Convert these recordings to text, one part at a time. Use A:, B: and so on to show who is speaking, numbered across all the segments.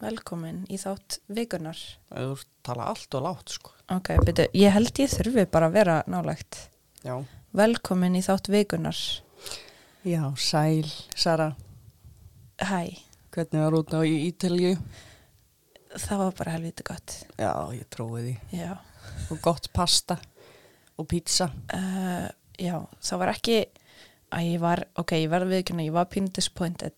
A: Velkomin í þátt vikunar.
B: Þú ert að tala allt og látt, sko.
A: Ok, byrju, ég held ég þurfi bara að vera nálægt.
B: Já.
A: Velkomin í þátt vikunar.
B: Já, sæl, Sara.
A: Hæ,
B: Hvernig var út á í Ítalju?
A: það var bara helviti gott.
B: Já, ég tróði því.
A: Já,
B: Og gott pasta og pizza.
A: uh, já það var ekki, að ég var, ok, ég verði vikuna, ég var pínu disappointed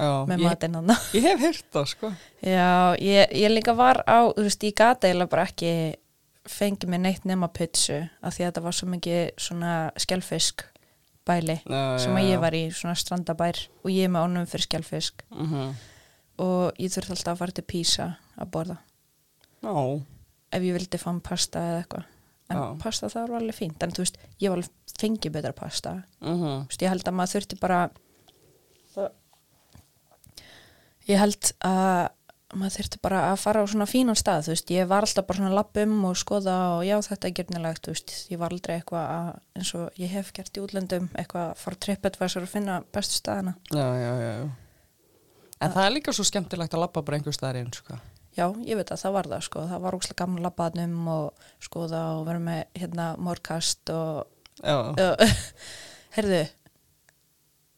B: Já,
A: með
B: ég,
A: matinn hann.
B: ég hef heyrt það, sko.
A: Já, ég, ég líka var á, þú veist, ég gata eiginlega bara ekki fengið mér neitt nema pizzu af því að þetta var svo mikið svona skjálfisk bæli
B: Já,
A: sem að ég var í svona strandabær og ég er með ánum fyrir skjálfisk
B: Mm -hmm.
A: og ég þurfti alltaf að fara til Písa að borða
B: Já,
A: ef ég vildi fann pasta eða eitthvað en
B: Já.
A: pasta það var alveg fínt en þú veist, ég var alveg fengið betra pasta
B: mm -hmm.
A: þú veist, ég held að maður þurfti bara ég held að maður þurfti bara að fara á svona fínan stað þú veist, ég var alltaf bara svona lapp um og skoða og já þetta er gerðnilegt, þú veist ég var aldrei eitthvað að, eins og ég hef gert í útlöndum, eitthvað að fara trippet var svo að finna bestu staðana
B: já, já, já. já. En það er líka svo skemmtilegt að labba bara einhver staðar einn, sko.
A: Já, ég veit að það var það sko, það var óslega gaman að labba þarna um og skoða og vera með hérna morgkast og
B: Já.
A: uh, herðu,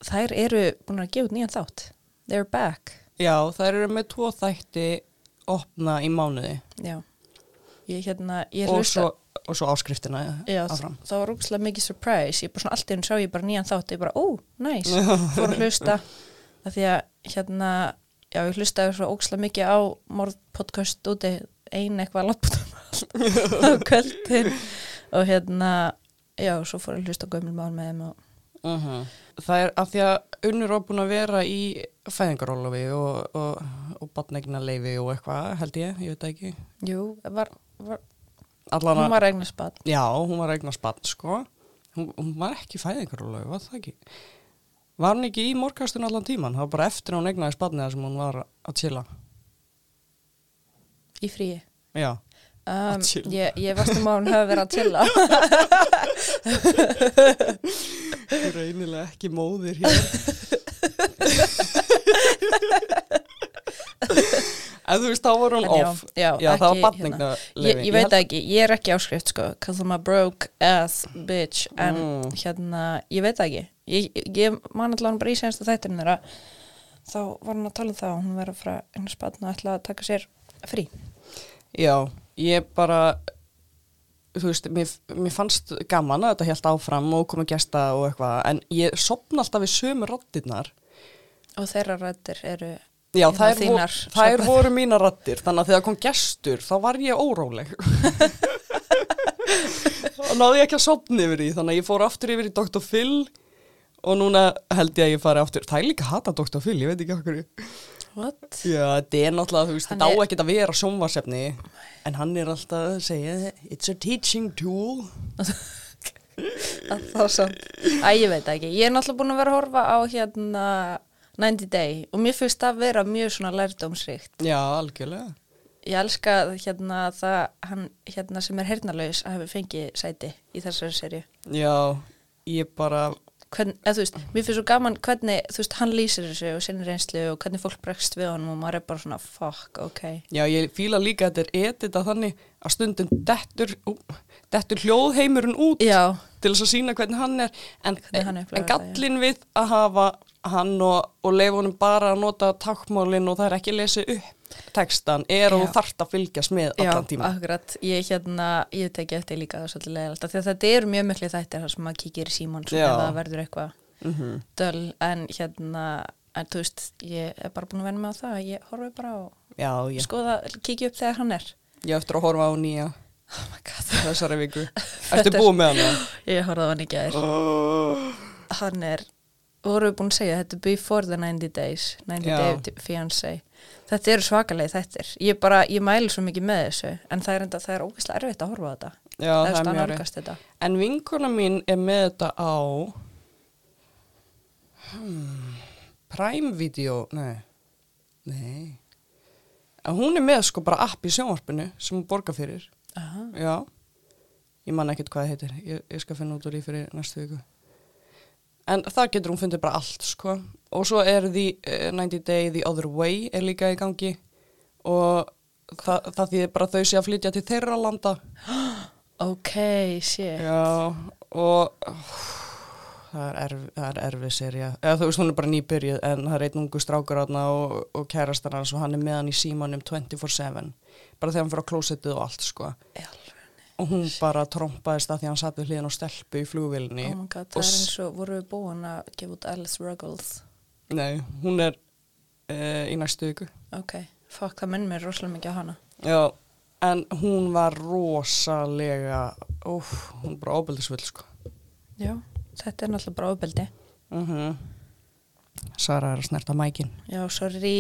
A: þær eru búin að gefa út nýjan þátt, they're back,
B: Já, þær eru með tvo þætti opna í mánuði.
A: já, ég hérna, ég
B: og,
A: hlusta,
B: svo, og svo áskriftina
A: já,
B: áfram.
A: það var óslega mikið surprise, ég bara svona allt í hún sá ég bara nýjan þátt, ég bara, ó, næs, nice. fór að hlusta, af því að hérna, já, ég hlustaði svo óslega mikið á morðpodcast úti, ein eitthvað lappt á kvöldin og hérna já, svo fór ég að hlusta á gömul mál með þeim og
B: Uh Það er af því að unnur var búin að vera í fæðingarólofi og, og, og batnegna leifi og eitthvað held ég, ég veit það ekki.
A: jú, var, var,
B: Allan
A: hún
B: að,
A: var eignarspann
B: já, hún var að eigna spann sko. Hún, hún var ekki í fæðingarólofi, var það ekki? Var hún ekki í morgkastun allan tíman? Það var bara eftir að hún eignaði spannið sem hún var að chilla.
A: í fríi
B: Já,
A: um,
B: Að chilla.
A: ég, ég varst um að hún höfði verið að tilla
B: hún er einilega ekki móðir hér. En þú veist, þá var hún
A: En já,
B: off.
A: já,
B: það var
A: ekki, hérna.
B: batningna
A: ég, ég veit ekki, ég er ekki áskrift sko, cause I'm a broke ass bitch en
B: Mm.
A: hérna, ég veit það ekki ég, ég- ég man allan bara í senasta þættinu þeirra þá var hún að tala um það og hún verið frá eignarspann og ætla að taka sér frí
B: Já, ég bara þú veist, mér, mér fannst gaman að þetta held áfram og komið gesta og eitthvað, en ég sopna alltaf við sömu rattirnar.
A: og þeirra rættir eru
B: Já,
A: Hérna,
B: þær,
A: þínar
B: vor, þær
A: sofnaðar.
B: voru mína rattir, þannig að þegar kom gestur, þá var ég óróleg. og náði ég ekki að sopna yfir því, þannig að ég fór aftur yfir í Dr. Phil og núna held ég að ég fari aftur. Það er líka að hata Dr. Phil, ég veit ekki okkur.
A: what?
B: Já, þetta er náttúrulega, þú veist,
A: Hann
B: þetta á
A: er-
B: ekkert að vera sjónvarsefni, en hann er alltaf að segja, it's a teaching tool.
A: að þá samt Æ, ég veit það ekki, ég er náttúrulega búin að vera að horfa á hérna 90 Day og mér finnst það að vera mjög svona lærdómsríkt
B: Já, algjörlega.
A: ég elska hérna það hann hérna sem er hernalaus að hafa fengið sæti í þessari serju
B: Já, ég bara,
A: Hvern, eða, þú veist, mér finnst svo gaman hvernig þú veist, hann lýsir þessu og sinni reynslu og hvernig fólk bregst við honum og maður er bara svona fuck, ok,
B: já, ég fíla líka að þetta er edita þannig að stundum dettur, ú, dettur hljóðheimurinn út
A: já
B: til þess að sína hvernig hann er, en,
A: Hvernig hann upplifir
B: en
A: þetta, já.
B: gallin við að hafa hann og, og leifa honum bara að nota takkmálinn og það er ekki að lesa upp textan, er
A: Já.
B: að þú þarft að fylgjast með allan tíma.
A: akkurat, ég hérna, ég teki eftir líka það er svolítið leðalt, því að þetta eru mjög miklu þættir þar sem maður kíkir í síman svona
B: Já.
A: ef það verður eitthvað
B: Mhm.
A: döl, en hérna, en þú veist, ég er bara búin að venna mig á það, ég horfi bara á,
B: Já, já,
A: skoða, kíkja upp þegar hann er.
B: ég á eftir að horfa á nýja.
A: Oh my god,
B: þessari viku
A: Þetta
B: Ertu
A: er-
B: búið með hana?
A: ég horfði á hann í gær, hann er, vorum við búin að segja, þetta er before the 90 days, 90
B: Já.
A: day fiancé. Þetta eru svakalegi þættir. Ég bara, ég mæli svo mikið með þessu, en það er enda, það er ógeðslega erfitt að horfa á þetta.
B: Já,
A: Eða,
B: það
A: veist,
B: er
A: að
B: mjög rétt
A: nálgast þetta.
B: En vinkona mín er með þetta á hmm, Prime Video Nei Nei En hún er með sko bara app í sjónvarpinu sem hún borgar fyrir
A: Aha.
B: Já Ég man ekkert hvað það heitir ég, ég skal finna út úr því fyrir næstu viku En það getur hún eh, fundið bara allt sko Og svo er því 90 Day The Other Way er líka í gangi og það, það þýðir bara að þau sé að flytja til þeirra landa
A: ok, shit
B: Já, og það er, erf, það er erfið serja. Eða þú veist, hún er bara nýbyrjuð en það er einn ungu strákur átna og, og kærastar hans og hann er með hann í símanum 24-7. Bara þegar hann fyrir á klósettið og allt, sko.
A: Já,
B: Og hún bara trompaðist að því að hann satt við hliðin á stelpu í flugvilni.
A: oh my god, það
B: og
A: er
B: s-
A: eins og voru við búin að gefa út Alice Ruggles
B: Nei, hún er uh, í næstu viku.
A: ok, fuck, það menn mér rosalega mikið á hana
B: Já, en hún var rosalega, óf, hún er bara ábyrðisvill, sko.
A: já, þetta er náttúrulega bara ofbeldi
B: Uh
A: Mhm.
B: Sara er að snerta mækin.
A: já, sorry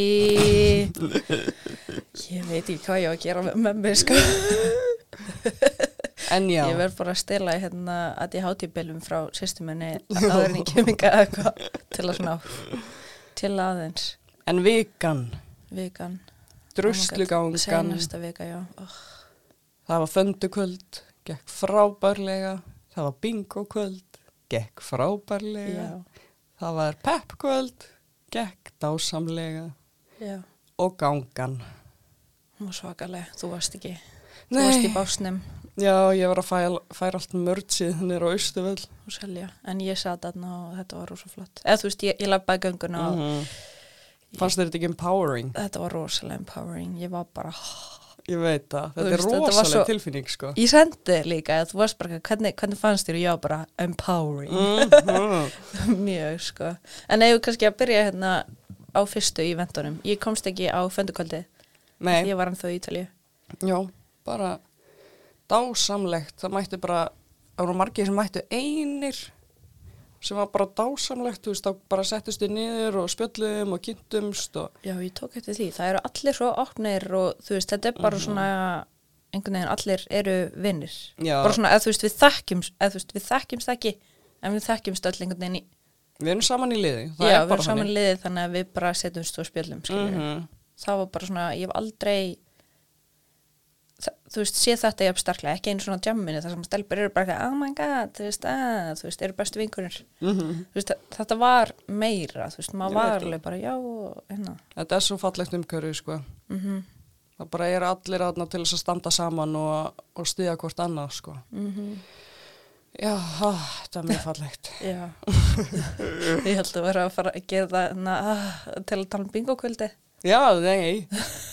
A: ég veit ekki hvað ég á að gera með- með mér sko
B: En já.
A: Ég verð bara að stela hérna að ég háti bylum frá sýstumenni áður en ég keminga eitthvað til að svona til aðeins
B: En vikan,
A: vikan Oh
B: druslugangan,
A: senasta vika, já oh,
B: það var föndukvöld, gekk frábærlega, það var bingokvöld, gekk frábærlega,
A: já,
B: það var peppkvöld, gekk dásamlega
A: já,
B: og gangan.
A: hún var svakaleg þú varst ekki, þú varst í
B: Nei,
A: básnum
B: já, ég var að færa, færa allt mördsið nýra á Östuvöld.
A: og selja, en ég sat aðna og þetta var rosa flott eða þú veist, ég, ég labbaði gönguna og
B: Mhm. Fannst þér þetta ekki empowering?
A: þetta var rosalega empowering ég var bara,
B: Ég veit það,
A: Þú
B: þetta er
A: veist, þetta var
B: rosaleg
A: svo-
B: tilfinning sko.
A: ég sendi þér líka þú varst bara, hvernig, hvernig fannst þér og ég var bara empowering
B: Mhm.
A: Mjög sko En eigum við kannski að byrja hérna á fyrstu í vendunum Ég komst ekki á föndukvöldi
B: Nei.
A: Ég var hann þó í Ítalíu
B: Já, bara dásamlegt, það mættu bara, það voru margir sem mættu einir sem var bara dásamlegt, þú veist, þá bara settust við niður og spjöllum og kynntumst og
A: Já, ég tók eftir því Það eru allir svo opnir og þú veist Þetta er bara svona einhvern veginn allir eru vinnir
B: Já.
A: Bara svona að þú veist við þekkjumst eða þú veist við þekkjumst ekki en við þekkjumst öll einhvern veginn í
B: við erum saman í liði, það
A: Já,
B: er
A: við erum
B: bara
A: saman liðið þannig að við bara setjumst og spjöllum skilur
B: Mhm.
A: Það var bara svona, ég hef aldrei Þa- þú veist, sé þetta ég starklega, ekki einu svona jamminu þar sem stelpur eru bara eitthvað, oh my god, þú veist, að, þú veist, eru bestu vinkunir
B: Mhm.
A: þú veist, þa- þetta var meira, þú veist, maður
B: Já,
A: var
B: virkilega.
A: alveg bara, já, og hérna,
B: Þetta er svo fallegt umhverju, sko.
A: mhm,
B: Það bara er allir aðna til þess að standa saman og, og stiða hvort annað, sko.
A: mhm,
B: Já, á, þetta er mjög fallegt.
A: já ég held að vera að fara að gera það na, til að tala um bingokvöldi
B: Já, nei,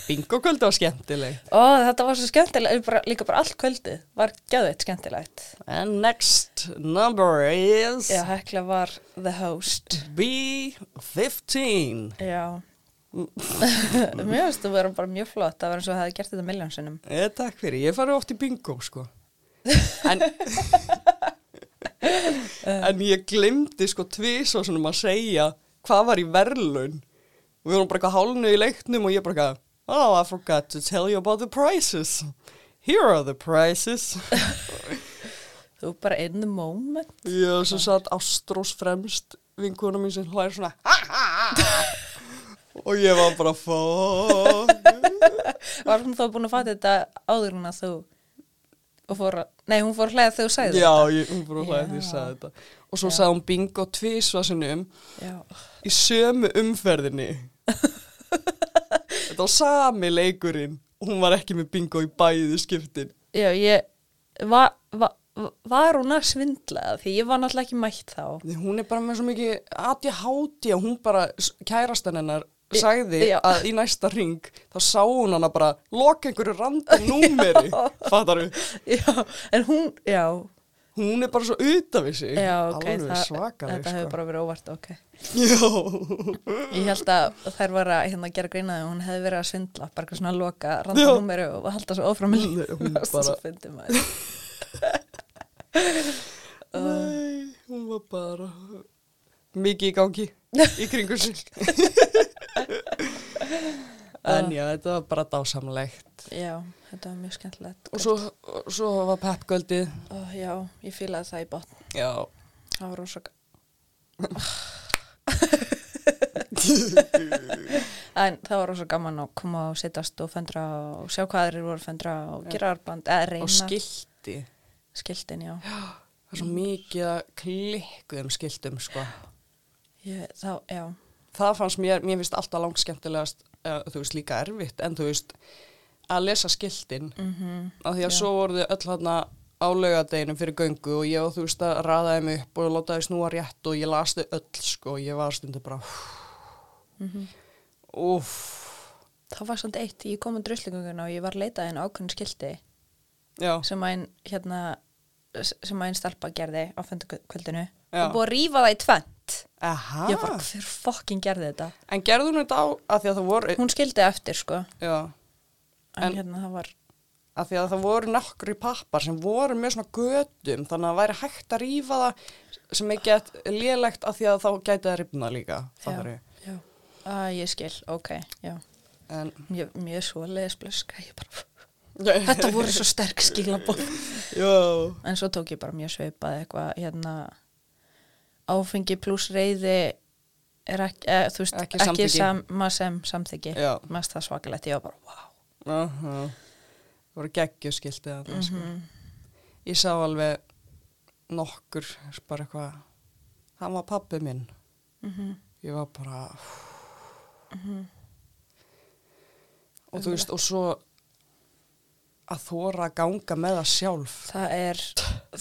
B: bingokvöld var skemmtileg.
A: ó, þetta var svo skemmtilegt, ég bara, líka bara allt kvöldið var gæðveitt skemmtilegt
B: And next number is...
A: já, hekla var the host
B: B15
A: já mér finnst þú vera bara mjög flott það var eins og það hefði gert þetta miljónsinnum
B: e, Takk fyrir, ég farið oft í bingo sko En, en ég glimti sko tvís og svona að segja hvað var í verðlun og við vorum bara eitthvað hálnu í leiknum og ég bara eitthvað Oh, I forgot to tell you about the prices Here are the prices
A: Þú bara in the moment.
B: Já, svo satt Ástrós fremst vinkona mín sem hlær svona "Ha, ha, ha." og ég var bara fuck
A: Var hún þá búin að fatta þetta áður en að þú og fór að, nei hún fór að hlæða þegar þú sagði
B: Já, ég, hún bara hlæði því að ég
A: Já.
B: sagði þetta. Og svo sagði hún bingo tvísvasinum
A: þetta. Já.
B: í sömu umferðinni. þetta var sami leikurinn. Hún var ekki með bingo í bæði skiptin.
A: Já, ég var, var, var hún að svindla því ég var náttúrulega ekki mætt þá.
B: Nei, Hún er bara með svo mikið ADHD og hún bara, s- kærastan hennar,
A: Í-
B: sagði
A: já.
B: að í næsta ring þá sá hún hana bara loka einhverju random númeri, fattar við.
A: Já, en hún, já,
B: Hún er bara svo utan við sig.
A: já, ok.
B: Alveg
A: það-
B: svakaleg,
A: Þetta hefur
B: sko.
A: bara verið óvart, ok.
B: Já.
A: Ég held að þær var að hérna gera grínaði og hún hefði verið að svindla, bara eitthvað svona að loka
B: Já.
A: randnúmeru og halda svo ófram í
B: Nei, hún
A: lífinu. Það
B: bara-
A: svo fyndi maður.
B: Nei, hún var bara mikið í gangi í kringu sig. en já, þetta var bara dásamlegt.
A: Já, þetta var mjög skemmtilegt.
B: Og svo, og svo var peppgöldið.
A: Ó, já, ég fílaði það í botn.
B: Já.
A: Það var rosa g- En það var rosa gaman að koma og sittast og föndra og sjá hvað þeir voru að föndra og gera arband, eða reyna
B: Og skilti.
A: skiltin, já.
B: Það var svo mikið að klikku um skiltum, sko.
A: Ég, þá, já.
B: Það fannst mér, mér finnst alltaf langt skemmtilegast uh, þú veist, líka erfitt en þú veist, að lesa skiltin
A: mm
B: af því að
A: Já.
B: svo voru þau öll hann á laugadeginum fyrir göngu og ég og þú veist að raða þeim upp og láta þau snúa rétt og ég las þau öll sko og ég var stundu bara
A: Mhm.
B: uff
A: Það var samt eitt, ég kom um druslingunguna og ég var leitað einu ákveðin skildi
B: já,
A: sem að einn hérna, s- sem að einn stelpa gerði á föndukvöldinu
B: Já. Ah.
A: og búið að rífa það í tvent
B: aha
A: ég bara, hver fokkin gerði þetta
B: en gerðu hún þetta á af því að það voru
A: hún skildi eftir sko
B: já,
A: en,
B: En-
A: hérna það var
B: af því að það voru nokkri pappar sem voru með svona götum þannig að það væri hægt að rífa það sem er gett lélegt af því að þá gæti það rifna líka
A: já,
B: fattari.
A: já. Að, ég skil, ok já.
B: en
A: mjög, mjög svo leðisblöska bara, þetta voru svo sterk skilabóð
B: já,
A: en svo tók ég bara mjög sveipað eitthvað hérna áfengi pluss reyði er ekki, eh, þú veist,
B: Ekki
A: ekki,
B: samþykki.
A: sama sem samþyggi,
B: Já.
A: mest það svakalegt ég var bara, wow
B: uh það voru geggjöskiltið mm
A: Mhm.
B: sko. ég sá alveg nokkur bara eitthvað hann var pappi minn
A: mhm.
B: ég var bara og þú veist og svo að þóra að ganga með það sjálf
A: það er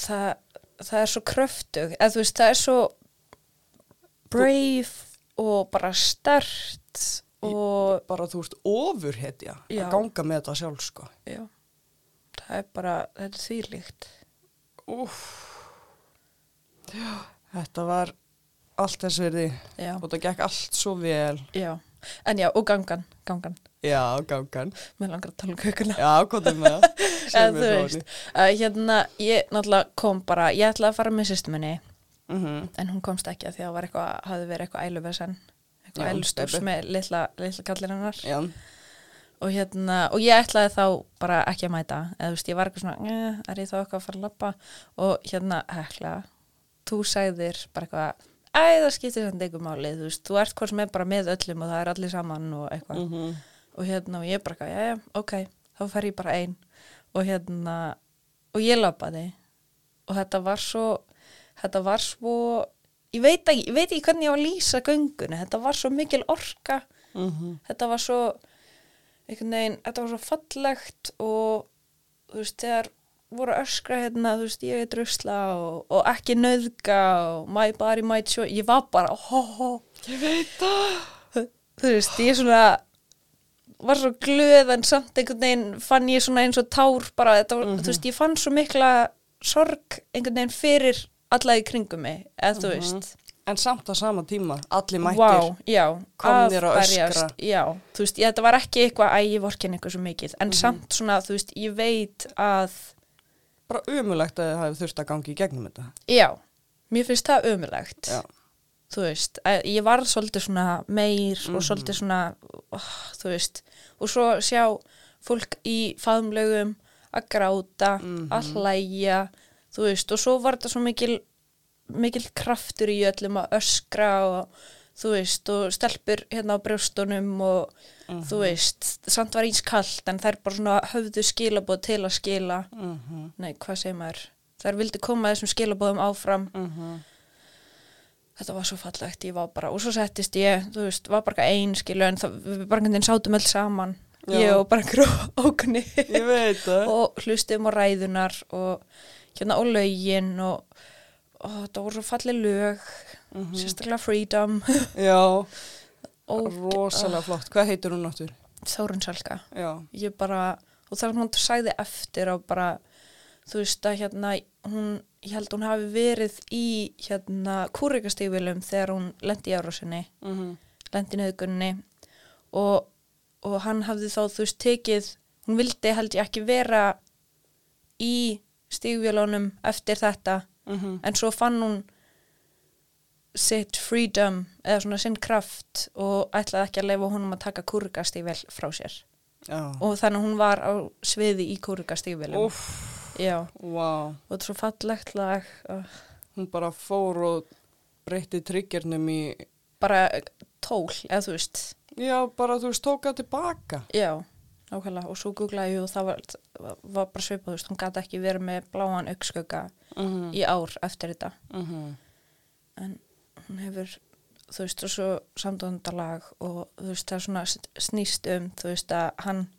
A: það, það er svo kröftug eða þú veist, það er svo brave og bara stert og
B: bara þú ert ofurhetja
A: Já.
B: að ganga með þetta sjálf sko.
A: já, það er bara þetta er þvílíkt
B: Úf. Þetta var allt þess verði
A: já,
B: og það gekk allt svo vel.
A: já, en já, og gangan gangan,
B: Já, gangan.
A: mér langar að tala um kökuna
B: Já, komðum með það.
A: eða þú veist, uh, hérna ég náttúrulega kom bara, ég ætlaði að fara með systuminni,
B: Mm
A: en hún komst ekki að því að það var eitthvað, hafði verið eitthvað æluvesen
B: Já,
A: eitthvað ælustofs
B: stebbi.
A: með litla, litla kallir hennar
B: Já,
A: og hérna, og ég ætlaði þá bara ekki að mæta, eða þú veist, ég var eitthvað svona "Eh, er ég þá eitthvað að fara að lappa og hérna, hekla, þú sagðir bara eitthvað, æ, það skiptir samt eitthvað máli, þú veist, þú ert hvort sem er bara með öllum og það er allir saman og eitthvað
B: Mhm.
A: og hérna, og ég bara eitthvað, já, já, ok þá fer ég bara ein og hérna, og ég lappaði og þetta var svo þetta var svo ég veit ekki, ég veit ekki hvernig ég á að lýsa göngunni, þetta var svo mikil orka
B: Mhm.
A: þetta var svo einhvern veginn, þetta var svo fallegt og þú veist, þegar voru að öskra hérna, þú veist, ég er drusla og, og ekki nöðga og my body, my choice, ég var bara hó, hó,
B: ég veit það.
A: þú veist, ég svona var svo glöð en samt einhvern veginn fann ég svona eins og tár bara, þetta var, þú veist, ég fann svo mikla sorg einhvern veginn fyrir alla í kringum mig, eða þú veist
B: En samt á sama tíma, allir mættir.
A: Vá, já,
B: Komnir að
A: afberjast,
B: öskra.
A: Já, þú veist, ég, þetta var ekki eitthvað að ég vorkin eitthvað svo mikið,
B: Mhm.
A: en samt svona, þú veist, ég veit að,
B: Bara umulegt að þið hafið þurft að gangi í gegnum þetta.
A: já, mér finnst það ömulegt,
B: Já.
A: þú veist, að ég var svolítið svona meir og svolítið svona, oh, þú veist, og svo sjá fólk í faðumlaugum að gráta, að hlæja, þú veist, og svo var þetta svo mikil, mikil kraftur í öllum að öskra og, þú veist, og stelpur hérna á brjóstunum og, þú veist, samt var eins kallt en þær bara svona höfðu skilabóð til að skila,
B: Mm -hmm.
A: nei, hvað segir maður, þær vildi koma þessum skilabóðum áfram
B: Mm
A: þetta var svo fallegt, ég var bara og svo settist ég, þú veist, var bara ein skilu en það, við bara einhvern veginn sátum öll saman
B: Já.
A: ég og bara gró ákunni
B: Ég veit það.
A: og hlustum á ræðunar og hérna og lögin og, og þetta voru svo falleg lög
B: Mhm.
A: sérstaklega Freedom
B: Já,
A: og
B: rosalega flott. Hvað heitir hún náttúr?
A: Þórun Salka
B: Já.
A: ég bara, og það er hún sagði eftir og bara, þú veist að hérna, hún, ég held hún hafi verið í hérna kúrikastífilum þegar hún lendi í árásinni
B: Mm
A: lendi í nöðgunni og, og hann hafði þá þú veist tekið, hún vildi held ég ekki vera í stígvélónum eftir þetta
B: Mhm.
A: en svo fann hún sitt freedom eða svona sinn kraft og ætlaði ekki að leifa honum að taka kúrikastífél frá sér
B: Já.
A: og þannig að hún var á sviði í kúrikastífélum
B: Úff,
A: já, og
B: vá.
A: þetta er svo fallegt lag og
B: Hún bara fór og breytti tryggjörnum í,
A: bara tól, eða þú veist
B: já, bara þú veist, tóka tilbaka.
A: Já, nákvæmlega og svo googlaði ég og það var, var bara svipað, þú veist, hún gæti ekki verið með bláan augskugga
B: Mm -hmm.
A: í ár eftir þetta
B: Mm -hmm.
A: en hún hefur þú veist, og svo samdóndalag og þú veist, það er svona s- snýst um, þú veist, að hann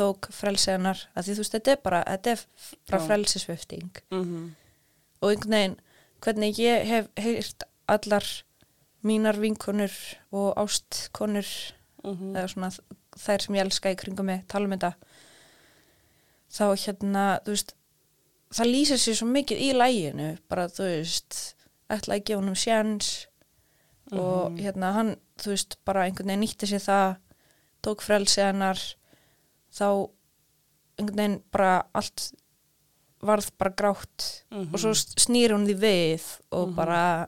A: tók frelsi hennar, að því þú veist, þetta er bara, þetta er f- bara
B: Já.
A: frelsisvifting
B: mm -hmm.
A: og einhvern veginn, hvernig ég hef heyrt allar mínar vinkonur og ástkonur eða sko, svona þ- þær sem ég elska í kringum mig tala um þetta þá hérna, þú veist það lýsir sér svo mikið í læginu bara, þú veist, ætla að gefa honum sjans og hérna, hann, þú veist, bara einhvern veginn nýtti sér það, tók frelsi hennar þá einhvern veginn bara allt varð bara grátt og svo s- snýr hún því við og
B: Mhm.
A: bara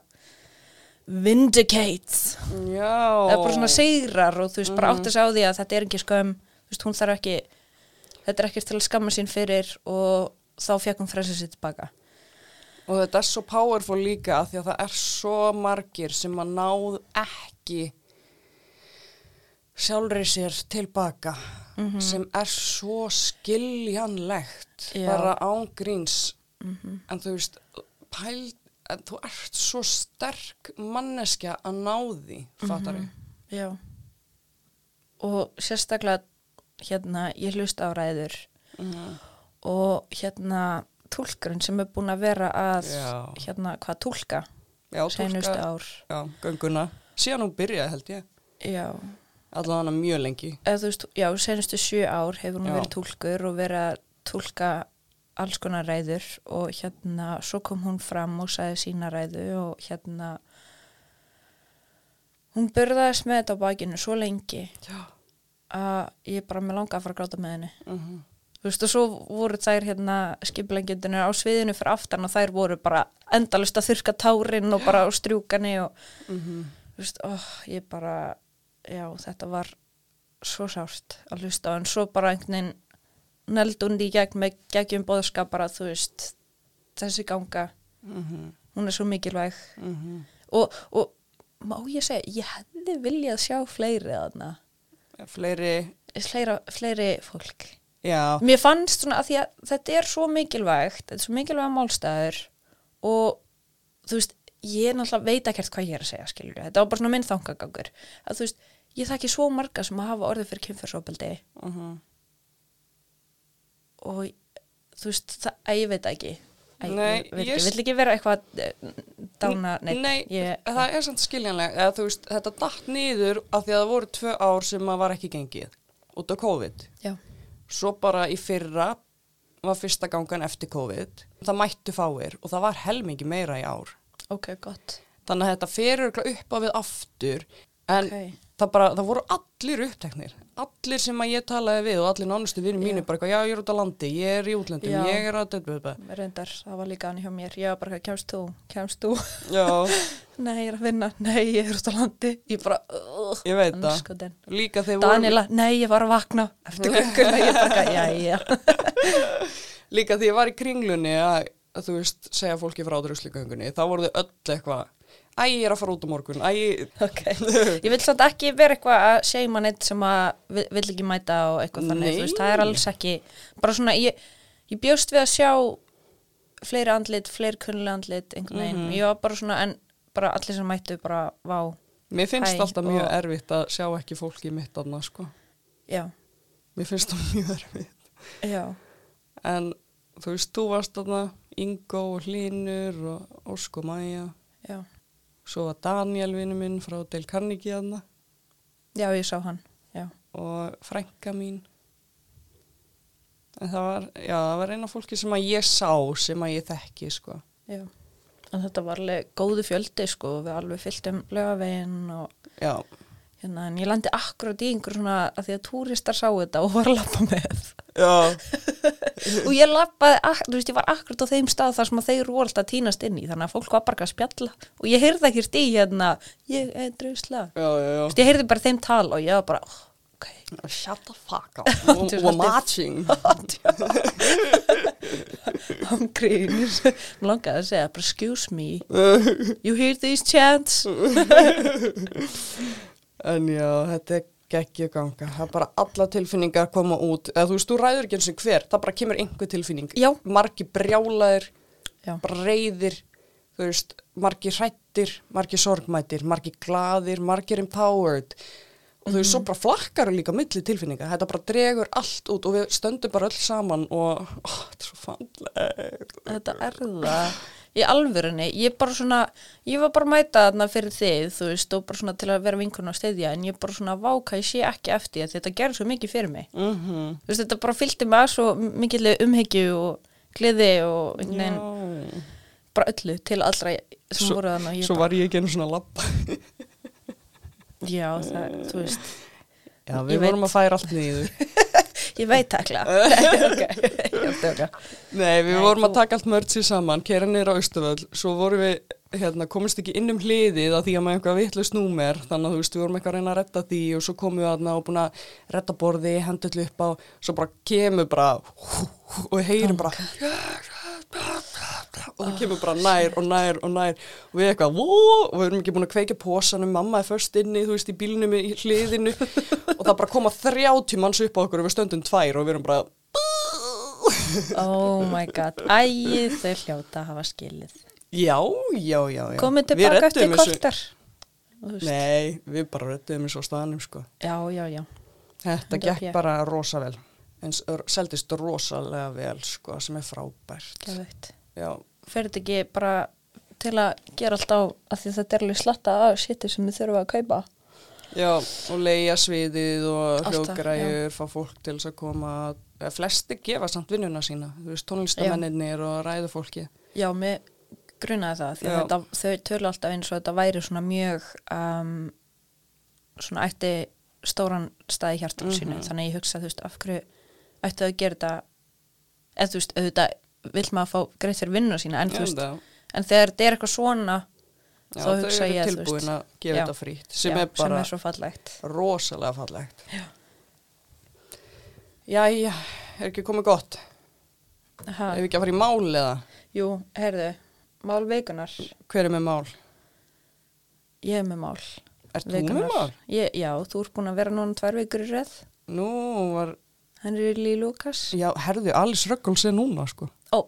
A: vindicates
B: já
A: eða bara svona sigrar og þú veist bara
B: Mhm.
A: átti sig á því að þetta er ekki skömm þú veist, hún þarf ekki þetta er ekkert til að skamma sín fyrir og þá fekk hún frelsið sitt tilbaka
B: Og þetta er svo powerful líka af því að það er svo margir sem að náð ekki sjálfri sér tilbaka sem er svo skiljanlegt
A: Já.
B: bara ángríns en þú veist pæl, en þú ert svo sterk manneskja að ná því fattar ég
A: já og sérstaklega hérna, ég hlusta á ræður
B: Mhm.
A: og hérna tólkurinn sem er búin að vera að
B: Já.
A: hérna, hvað tólka
B: Já,
A: seinustu
B: tólka,
A: ár
B: já, gönguna síðan hún byrjaði held ég
A: já,
B: allan hana mjög lengi
A: eða þú veist, já, senustu sjö ár hefur hún
B: Já.
A: verið tólkur og verið að tólka alls konar ræður og hérna, svo kom hún fram og sagði sína ræðu og hérna hún börðaðist með þetta á bakinu svo lengi
B: Já,
A: að ég bara með langa að fara að gráta með henni
B: mm
A: þú veist, og svo voru þær hérna skiplengjendunir á sviðinu fyrir aftan og þær voru bara endalust að þurka tárin og bara á strjúkani og
B: Mhm.
A: þú veist, oh, ég bara já, þetta var svo sárt að hlusta á en svo bara einhvern veginn neldundi í gegn með geggjum bóðskap bara þú veist þessi ganga,
B: Mhm.
A: hún er svo mikilvæg og, og má ég segja, ég hefði viljað sjá fleiri þarna
B: fleiri
A: fleira, fleiri fólk
B: já,
A: Mér fannst svona að því að þetta er svo mikilvægt, þetta er svo mikilvæga málstæður og þú veist, ég náttúrulega veit ekkert hvað ég er að segja, skilur við, þetta var bara svona minn þangagangur, að þú veist, ég þekki svo marga sem að hafa orðið fyrir kynferðsopeldi
B: mm
A: og þú veist, það, að ég veit það ekki, að
B: Nei,
A: ég, veit
B: ég-
A: ekki, vill ekki vera eitthvað eh, dána, nei, ég,
B: það er samt skiljanlega eða, þú veist, þetta datt niður af því að það voru tvö ár sem að var ekki gengið út af COVID
A: já,
B: svo bara í fyrra var fyrsta gangan eftir COVID það mættu fáir og það var helmingi meira í ár
A: ok, gott,
B: þannig að þetta fer örugglega upp á við aftur en
A: Ok.
B: það, bara, það voru allir uppteknir allir sem að ég talaði við og allir nánustu vinni mínu bara eitthvað, já ég er út á landi, ég er í útlöndum
A: Já.
B: ég er að döpa
A: reyndar, það var líka hann hjá mér, ég var bara, kemst þú, kemst þú,
B: já,
A: nei, ég er að vinna, nei, ég er út á landi, ég bara, ugh,
B: ég veit það
A: andskotin.
B: líka þegar voru
A: Daniela, nei, ég var að vakna eftir gönguna, ég bara, jæja
B: líka því ég var í kringlunni að, að þú veist, segja fólki frá drusligöngunni, þá voru þau öll eitthvað Æ, ég er að fara út á morgun, æ
A: okay. ég vil samt ekki vera eitthvað að seima neitt sem að vi- vill ekki mæta og eitthvað þannig,
B: Nei.
A: þú veist, það er alls ekki bara svona, ég, ég bjóst við að sjá fleiri andlit, fleiri kunnulega andlit einhvern veginn, ég var bara svona en bara allir sem mættu bara, vá
B: Mér finnst
A: Æ,
B: alltaf mjög
A: og-
B: erfitt að sjá ekki fólki mitt annað, sko.
A: já,
B: Mér finnst það mjög erfitt.
A: já,
B: En þú veist, þú varst þarna Ingo og Hlynur og Ósk og Maja.
A: já
B: Svo var Daniel vinnu minn frá Del Carnegie þarna
A: já, ég sá hann, já,
B: og frænka mín. En það var, já, það var eina fólki sem að ég sá, sem að ég þekki, sko.
A: já en þetta var alveg góðu fjöldi sko, við alveg fylltum lögavegin og
B: Já,
A: hérna, en ég landi akkurat í einhver svona að því að túristar sá þetta og var að lappa með
B: já,
A: og ég lappaði, ak- þú veist, ég var akkurat á þeim stað þar sem að þeir voru alltaf að týnast inn í þannig að fólk var bara eitthvað að spjalla og ég heyrði ekkert í hérna, ég er drusla Þú
B: já, já.
A: veist, ég heyrði bara þeim tal og ég var bara oh, ok,
B: Shut the fuck up,
A: Þú veist,
B: we're we're
A: þetta er-
B: matching.
A: hann grínir mér langaði að segja, bara excuse me you hear these chants
B: En já, þetta er geggjöð ganga. Það er bara alla tilfinningar koma út. Eða, þú veist, þú ræður ekki eins og hver, það bara kemur einhver tilfinning.
A: Já.
B: Margi brjálaðir,
A: já,
B: bara reyðir, þú veist, margir hrættir, margir sorgmættir, margir glaðir, margir empowered og þú veist, svo bara flakkar líka milli tilfinninga, þetta bara dregur allt út og við stöndum bara öll saman og ó, þetta er svo fannlegt.
A: Þetta er það í alvörunni, ég bara svona ég var bara að mæta þarna fyrir þið þú veist, og bara svona til að vera vinkunum að steyðja en ég bara svona váka, ég sé ekki eftir því að þetta gerði svo mikið fyrir mig
B: Mm -hmm.
A: þú veist, þetta bara fylgdi mig að svo mikilli umhyggju og gleði og nein, bara öllu til allra sem
B: Svo-
A: voru þarna og ég
B: Svo var ég ekki einu svona labba.
A: bara, já, það, þú veist
B: Já,
A: Ég
B: við
A: veit.
B: vorum að færa allt niður.
A: ég veit takla ok, ég er að djóka.
B: Nei, við
A: Nei,
B: vorum
A: þú-
B: að taka allt mörgsi saman, kera niður á Östuvöll, svo vorum við, hérna, komist ekki inn um hliðið að því að maður eitthvað vitlaust númer, þannig að þú veist, við vorum eitthvað að reyna að retta því og svo komum við aðna og búin að retta borði, hendu allu upp á, svo bara kemur bara, hú, hú, og heyrum bara, og það kemur
A: Ah,
B: bara nær og nær og nær og við eitthvað, vó, og við erum ekki búin að kveika pósanum, mamma er först inni, þú veist, í bílnum í hliðinu og það bara koma 30 manns upp á okkur og við stöndum tvær og við erum bara,
A: oh my god, æ, þau hljóta að hafa skilið
B: Já, já, já, já.
A: komið
B: Við
A: tilbaka
B: reddum
A: eftir
B: þessu-
A: kortar Þú veist.
B: Nei, við bara röttum eins og staðanum sko.
A: já, já, já
B: Þetta
A: 100
B: gekk
A: pé.
B: bara rosa vel. En s- r- seldist rosalega vel sko, sem er frábært.
A: Geðveikt.
B: Já,
A: fer þetta ekki bara til að gera allt á að því að þetta er alveg slatta af shiti sem við þurfum að kaupa
B: já, og leia sviðið og
A: Allt það,
B: hljógræður, fá fólk til þess að koma. Eh, Flesti gefa samt vinnuna sína, þú veist, tónlistamennir og ræðu fólki.
A: já, mér grunaði það því að
B: Já.
A: þetta, þau tölu alltaf eins og þetta væri svona mjög um, svona ætti stóran staði hjartum mm
B: Mhm.
A: sínu þannig að ég hugsa, þú veist, af hverju ættu þau að gera þetta eða þú veist, auðvitað vill maður fá greitt fyrir vinnu sína en, þú veist,
B: það,
A: en þegar þetta er eitthvað svona
B: já,
A: þá
B: þau
A: hugsa
B: eru
A: ég, þú veist,
B: tilbúin að gefa
A: já.
B: þetta frýtt, sem
A: já,
B: er bara
A: sem er svo fallegt
B: rosalega fallegt.
A: Já.
B: Jæja, er ekki komið gott?
A: ha,
B: Ef við ekki að fara í mál eða?
A: jú, heyrðu, mál veikunar
B: Hver er með mál?
A: ég er með mál
B: Er þú með
A: Vikunar.
B: mál?
A: Ég, já, þú ert búin að vera núna tvær vikur í röð.
B: Nú var,
A: Henry Lee Lucas.
B: já, herðu, Alice Ruggles er núna, sko.
A: Ó,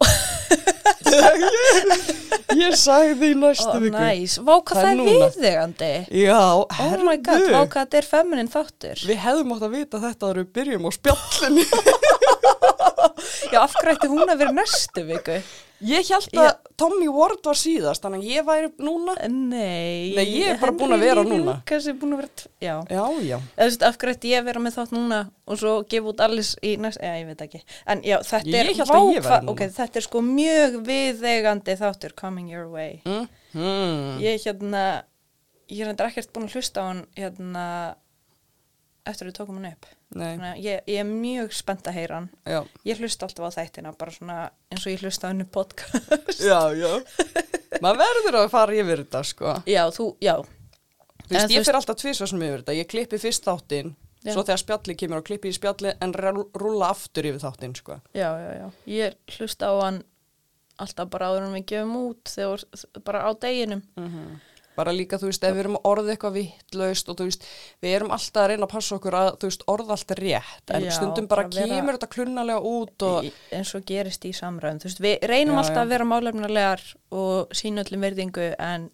B: Ég sagði því næstu
A: ó
B: viku.
A: næs. Vá, hvað
B: Það er
A: það er
B: núna.
A: viðegandi.
B: Já,
A: Oh
B: herðu.
A: my god, vá, hvað þetta er feminin þáttur.
B: Við hefðum átt að vita þetta þegar við byrjum á spjallinni.
A: Já, af hverju ætti hún að vera næstu viku?
B: Ég held að Tommy Ward var síðast, þannig að ég væri núna.
A: Nei.
B: Nei, ég er bara
A: Henry
B: búin að vera
A: Lee
B: núna.
A: Lucas er búin að vera, tv- já.
B: Já, já.
A: Eða þú veist, af hverju ætti ég að vera með þátt núna og svo gefa út allis í næst, eða ég veit ekki. En já, þetta
B: Ég
A: er,
B: hélt að ég væri
A: hvað-
B: núna.
A: ok, þetta er sko mjög viðegandi þáttur coming your way.
B: Mm. Mm.
A: ég hérna ég er hendur ekkert búin að hlusta á hann hérna eftir að við tókum hann upp
B: Nei,
A: Þannig að ég, ég er mjög spennt að heyra hann
B: já.
A: ég hlusta alltaf á þættina bara svona eins og ég hlusta á hennu podcast
B: Já, já. Maður verður að fara yfir þetta, sko.
A: já, þú, já,
B: Þú veist,
A: En þú
B: ég
A: veist-
B: fyrir alltaf tvisvar sem yfir þetta. Ég klippi fyrst þáttinn,
A: Já.
B: svo þegar spjallið kemur og klippi í spjallið en rúla aftur yfir þáttinn, sko.
A: já, já, já ég hlusta á hann alltaf bara áður en við gefum út þegar, bara á deginum
B: bara líka þú veist ef við erum að orða eitthvað vittlaust og þú veist við erum alltaf að reyna að passa okkur að þú veist orða allt rétt en
A: Já,
B: stundum bara
A: bara vera-
B: kemur þetta klunnalega út og
A: í, eins og gerist í samræðum þú veist, við reynum
B: Já,
A: alltaf
B: já.
A: að vera málefnilegar og sína öllum verðingu en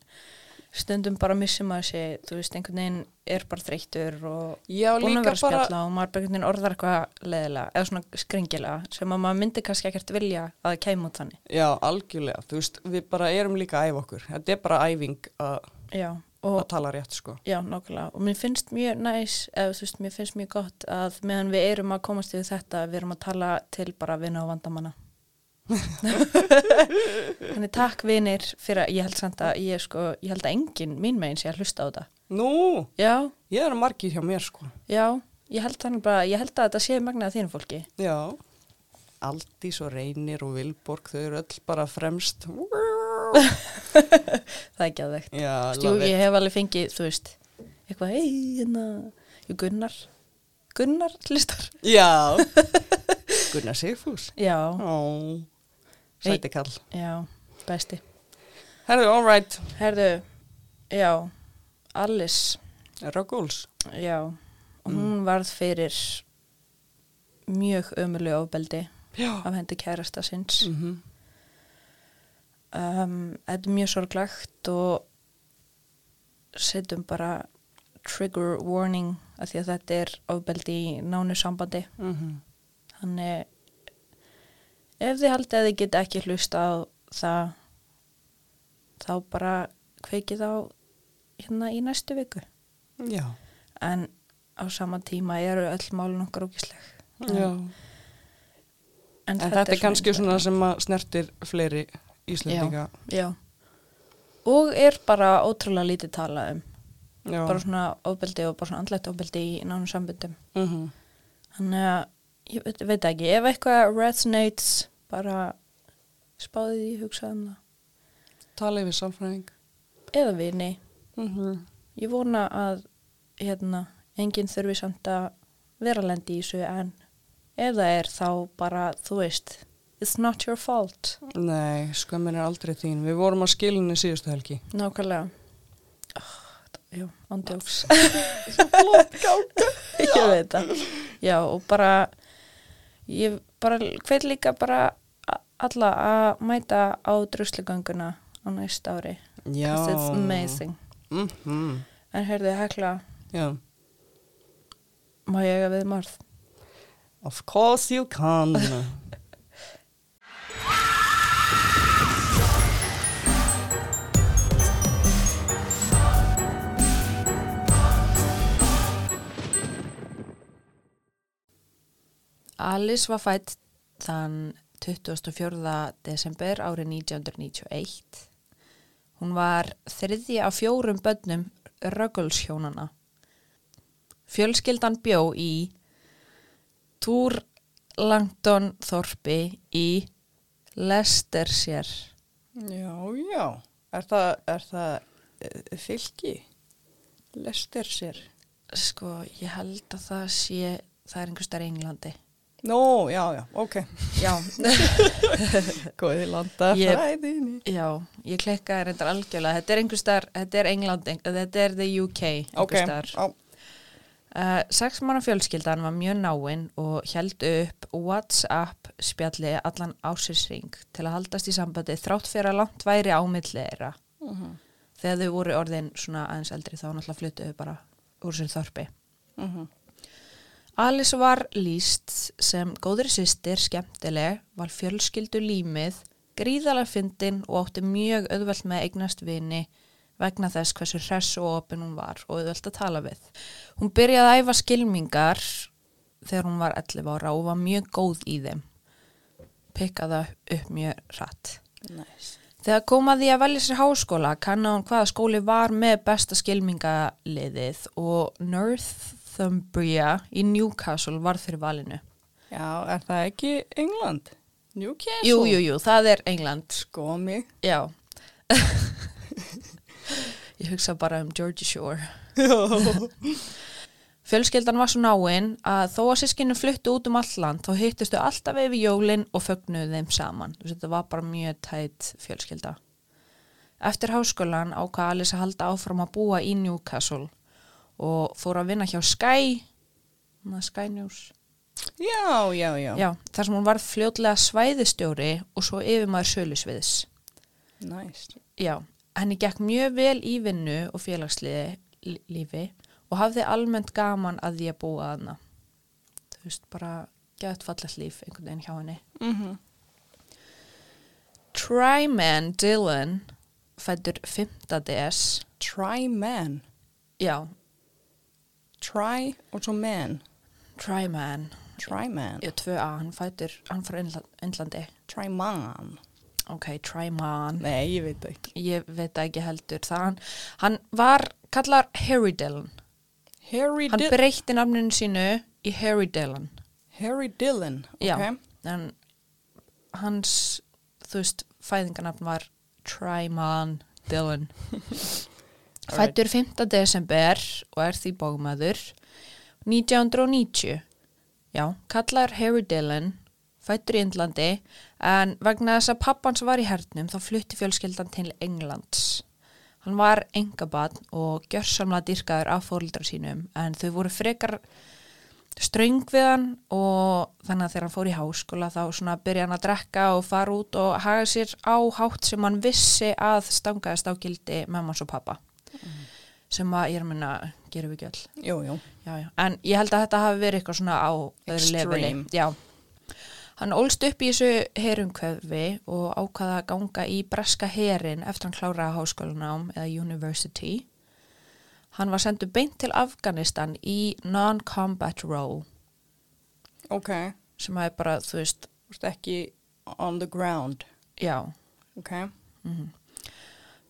A: stundum bara missum að sé þú veist, einhvern veginn er bara þreyttur og
B: já
A: búin að
B: líka
A: vera að
B: bara
A: spjalla og maður bara einhvern veginn orðar eitthvað leðilega eða svona skringilega sem að maður myndi kannski ekkert vilja að það kæm út þannig
B: já algjörlega þú veist við bara erum líka að æfa okkur þetta er bara æfing að,
A: já,
B: að
A: og
B: tala rétt sko
A: já, nokkulega og mér finnst mjög næs eða þú veist, mér finnst mjög gott að meðan við erum að komast yfir þetta við erum að tala til bara vinna og vandamanna Þannig takk vinir fyrir að ég held samt að ég sko, ég held að enginn mín megin sé að hlusta á þetta.
B: nú
A: Já,
B: ég er margir hjá mér sko
A: já, ég held þannig bara, ég held að þetta sé magnað að þínu fólki.
B: já Aldís og Reynir og Vilborg þau eru öll bara fremst
A: Það er ekki að veikt.
B: já
A: Jú, ég hef alveg fengið, þú veist, eitthvað, hei, hérna, jú, Gunnar, Gunnar hlustar.
B: já Gunnar Sigfús
A: Já,
B: Ó,
A: Nei.
B: sæti kall
A: já, besti.
B: herðu all right
A: Herðu, já, Alice,
B: Ruggles
A: já, hún varð fyrir mjög ömurlega ofbeldi
B: Já. Mhm,
A: af hendi kærasta sinns.
B: Mm
A: um, þetta er mjög sorglegt og setjum bara trigger warning af því að þetta er ofbeldi í nánu sambandi
B: Mm
A: þannig ef þið haldið að þið geta ekki hlusta á það þá bara kveikið á hérna í næstu viku
B: Já.
A: en á sama tíma eru öll málun okkar ógisleg
B: Já. En þetta, er kannski svona sem að snertir fleiri íslendinga.
A: Já. og er bara ótrúlega lítið talað um
B: Já. Já.
A: bara svona ofbeldi og bara svona andlegt ofbeldi í nánum sambundum
B: mm
A: þannig að ég veit- veit ekki, ef eitthvað resonates bara spáðið í hugsað um
B: Talið við samfræðing.
A: það eða vini,
B: Mm
A: ég vona að hérna, enginn þurfi samt að vera lendi í þessu en ef það er þá bara þú veist, it's not your fault
B: Nei, skömmin er aldrei þín. Við vorum að skilinni síðustu helgi.
A: nákvæmlega oh, jú, andjóks
B: Flott gátt.
A: ég veit það já og bara ég bara hvet líka bara a- alla að mæta á druslugönguna á næsta ári 'Cause it's amazing
B: Mm
A: en heyrðu hekla,
B: Já.
A: má ég eiga við marð
B: Of course you can.
A: Alice var fætt þann 24. desember árið 1991 hún var þriði af fjórum bönnum röggulshjónana fjölskyldan bjó í Túr Langdon Þorpi í Leicestershire
B: já, já. Er það, er það eh, fylki? Lester sér.
A: Sko, ég held að það sé, það er einhver starf í Englandi.
B: Nó, já, já, ok.
A: Já,
B: Góði landa
A: Ég-
B: fræðinni.
A: já, ég klikkaði reyndar algjörlega. Þetta er einhver starf, þetta er Englandi, þetta er the UK einhver
B: Ok,
A: starf.
B: á,
A: Uh, sex manna fjölskyldan var mjög náinn og held upp WhatsApp spjalli allan ásinsring til að haldast í sambandi þrátt fyrir að langt væri ámilli þeirra.
B: Mhm.
A: Þegar þau voru orðin svona aðeins eldri þá náttúrulega fluttuðu bara úr sér þorpi.
B: Mhm.
A: Alice var líst sem góðri sýstir, skemmtileg, var fjölskyldu límið, gríðalega fyndin og átti mjög auðvelt með að eignast vini vegna þess hversu hress og opin hún var og auðvelt að tala við. Hún byrjaði að æfa skilmingar þegar hún var 11 ára og var mjög góð í þeim. Pikkaða upp mjög hratt.
B: Næs.
A: Þegar kom að því að velja sér háskóla kanna hún hvaða skóli var með besta skilmingaliðið og Northumbria í Newcastle var fyrir valinu.
B: Já, er það ekki England? Newcastle?
A: Jú, jú, jú, það er England,
B: Sko mig.
A: já. Ég hugsa bara um Georgia Shore. Fjölskeldan var svo náinn að þó að sískinu fluttu út um allt land þá hittustu alltaf yfir jólin og fögnuðu þeim saman. Þú veist, Þetta var bara mjög tætt fjölskelda. Eftir háskólan ákvað Alice að halda áfram að búa í Newcastle og fór að vinna hjá Sky, na, Sky News,
B: Já, já, já.
A: Já, þar sem hún varð fljótlega svæðistjóri og svo yfirmaður sölusviðs.
B: Næs.
A: Já, henni gekk mjög vel í vinnu og félagsliði lífi og hafði almennt gaman að því að búa að hana. Þú veist, bara gett fallast líf einhvern veginn hjá henni.
B: Mm -hmm.
A: Tryman Dylan fættur 5. DS.
B: Try man.
A: Já,
B: Try og svo man.
A: Tryman.
B: Try man.
A: Já, 2A, hann fættur, hann frá Indla- Indlandi.
B: Try man.
A: Ok, Tryman.
B: Nei, ég veit það ekki.
A: Ég veit það ekki heldur það. Hann, hann var kallar Harry Dylan.
B: Harry,
A: Hann
B: Dil
A: breytti nafninu sínu í Harry Dylan.
B: Harry Dillon.
A: Já,
B: ok.
A: en hans, þú veist, fæðingarnafn var Tryman Dillon. Fættur 5. desember og er því bókmaður 1990. Já, kallar Harry Dillon, fættur í Indlandi, en vegna þess að pappans var í hernum þá flutti fjölskeldan til Englands. Hann var engabann og gjörsamlega dyrkaður af fóreldra sínum en þau voru frekar ströng við hann og þannig að þegar hann fór í háskóla þá svona byrja hann að drekka og fara út og haga sér á hátt sem hann vissi að stangaðist á gildi mammas og pappa sem að ég er að minna gerum við ekki öll
B: Jú, jú.
A: já, já. en ég held að þetta hafi verið eitthvað svona á öðru
B: Extreme.
A: leveli já. hann ólst upp í þessu herumkvefi og ákvaða að ganga í breska herin eftir hann kláraði háskólanám eða university hann var sendur beint til Afganistan í non-combat role
B: Ok.
A: sem að er bara, þú veist,
B: Þú veist ekki on the ground.
A: já
B: Ok.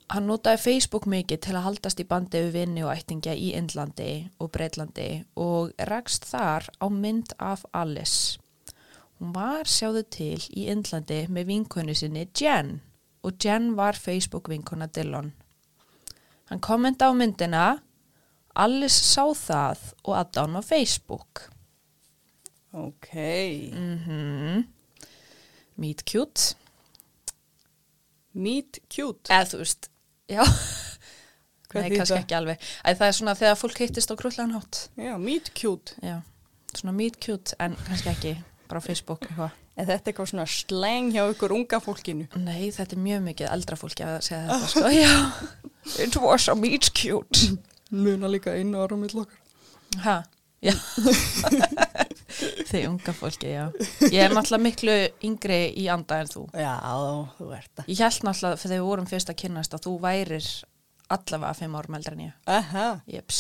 A: Hann notaði Facebook mikið til að haldast í bandi við vinni og ættingja í Indlandi og Breitlandi og rakst þar á mynd af Alice. Hún var sjáðu til í Indlandi með vinkonu sinni Jen og Jen var Facebook vinkona Dillon. Hann kommenta á myndina, Alice sá það og adda hann á Facebook.
B: Ok.
A: Mm Meet cute.
B: Meet cute.
A: Eða þú veist, já,
B: Hvað
A: nei
B: þýðir
A: kannski
B: það?
A: ekki alveg. Æ, það er svona þegar fólk hittist á krullan hátt.
B: Já, meet cute.
A: Já, svona meet cute en kannski ekki bara á Facebook eitthvað.
B: Er þetta eitthvað svona sleng hjá ykkur unga fólkinu?
A: Nei, þetta er mjög mikið eldra fólki að segja þetta sko, já. It was a meet cute.
B: Muna líka einu ára mitt okkar.
A: Ha, já. Þið unga fólki, já. Ég er náttúrulega miklu yngri í anda en þú.
B: Já, þú ert það.
A: Ég held náttúrulega fyrir þegar við vorum fyrst að kynnast að þú værir allavega fimm árum eldra en ég.
B: Aha,
A: Jeps.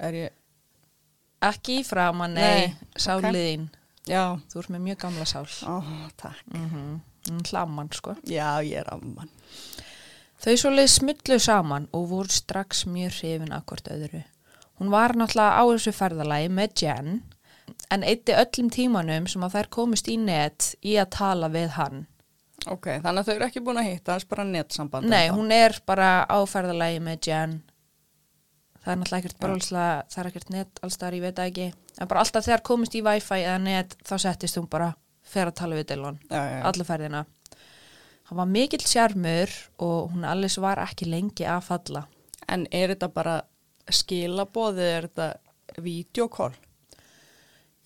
B: er ég...
A: Ekki í framan, nei, Ah.
B: Nei,
A: nei sáliðin.
B: Já,
A: Þú ert með mjög gamla sál.
B: ó, takk.
A: Mm Hlaman, sko.
B: Já, ég er amman.
A: Þau svolítið smullu saman og voru strax mjög hrifin að hvort öðru. Hún var náttúrulega á þessu ferðalagi með Jen en eitti öllum tímanum sem að þær komist í net í að tala við hann.
B: Ok, þannig að þau eru ekki búin að hitta, það er bara netsamband.
A: Nei, hún er bara á ferðalagi með Jen. Það er náttúrulega ekkert bara alls að það er ekkert net alls þar, ég veit það ekki. En bara alltaf þegar komist í wifi eða net þá settist hún bara fer að tala við Dylan.
B: Já, já, já.
A: alla ferðina. Hann var mikill sjarmur og hún allis var ekki lengi að falla.
B: En er þetta bara skilaboð eða er þetta videokól?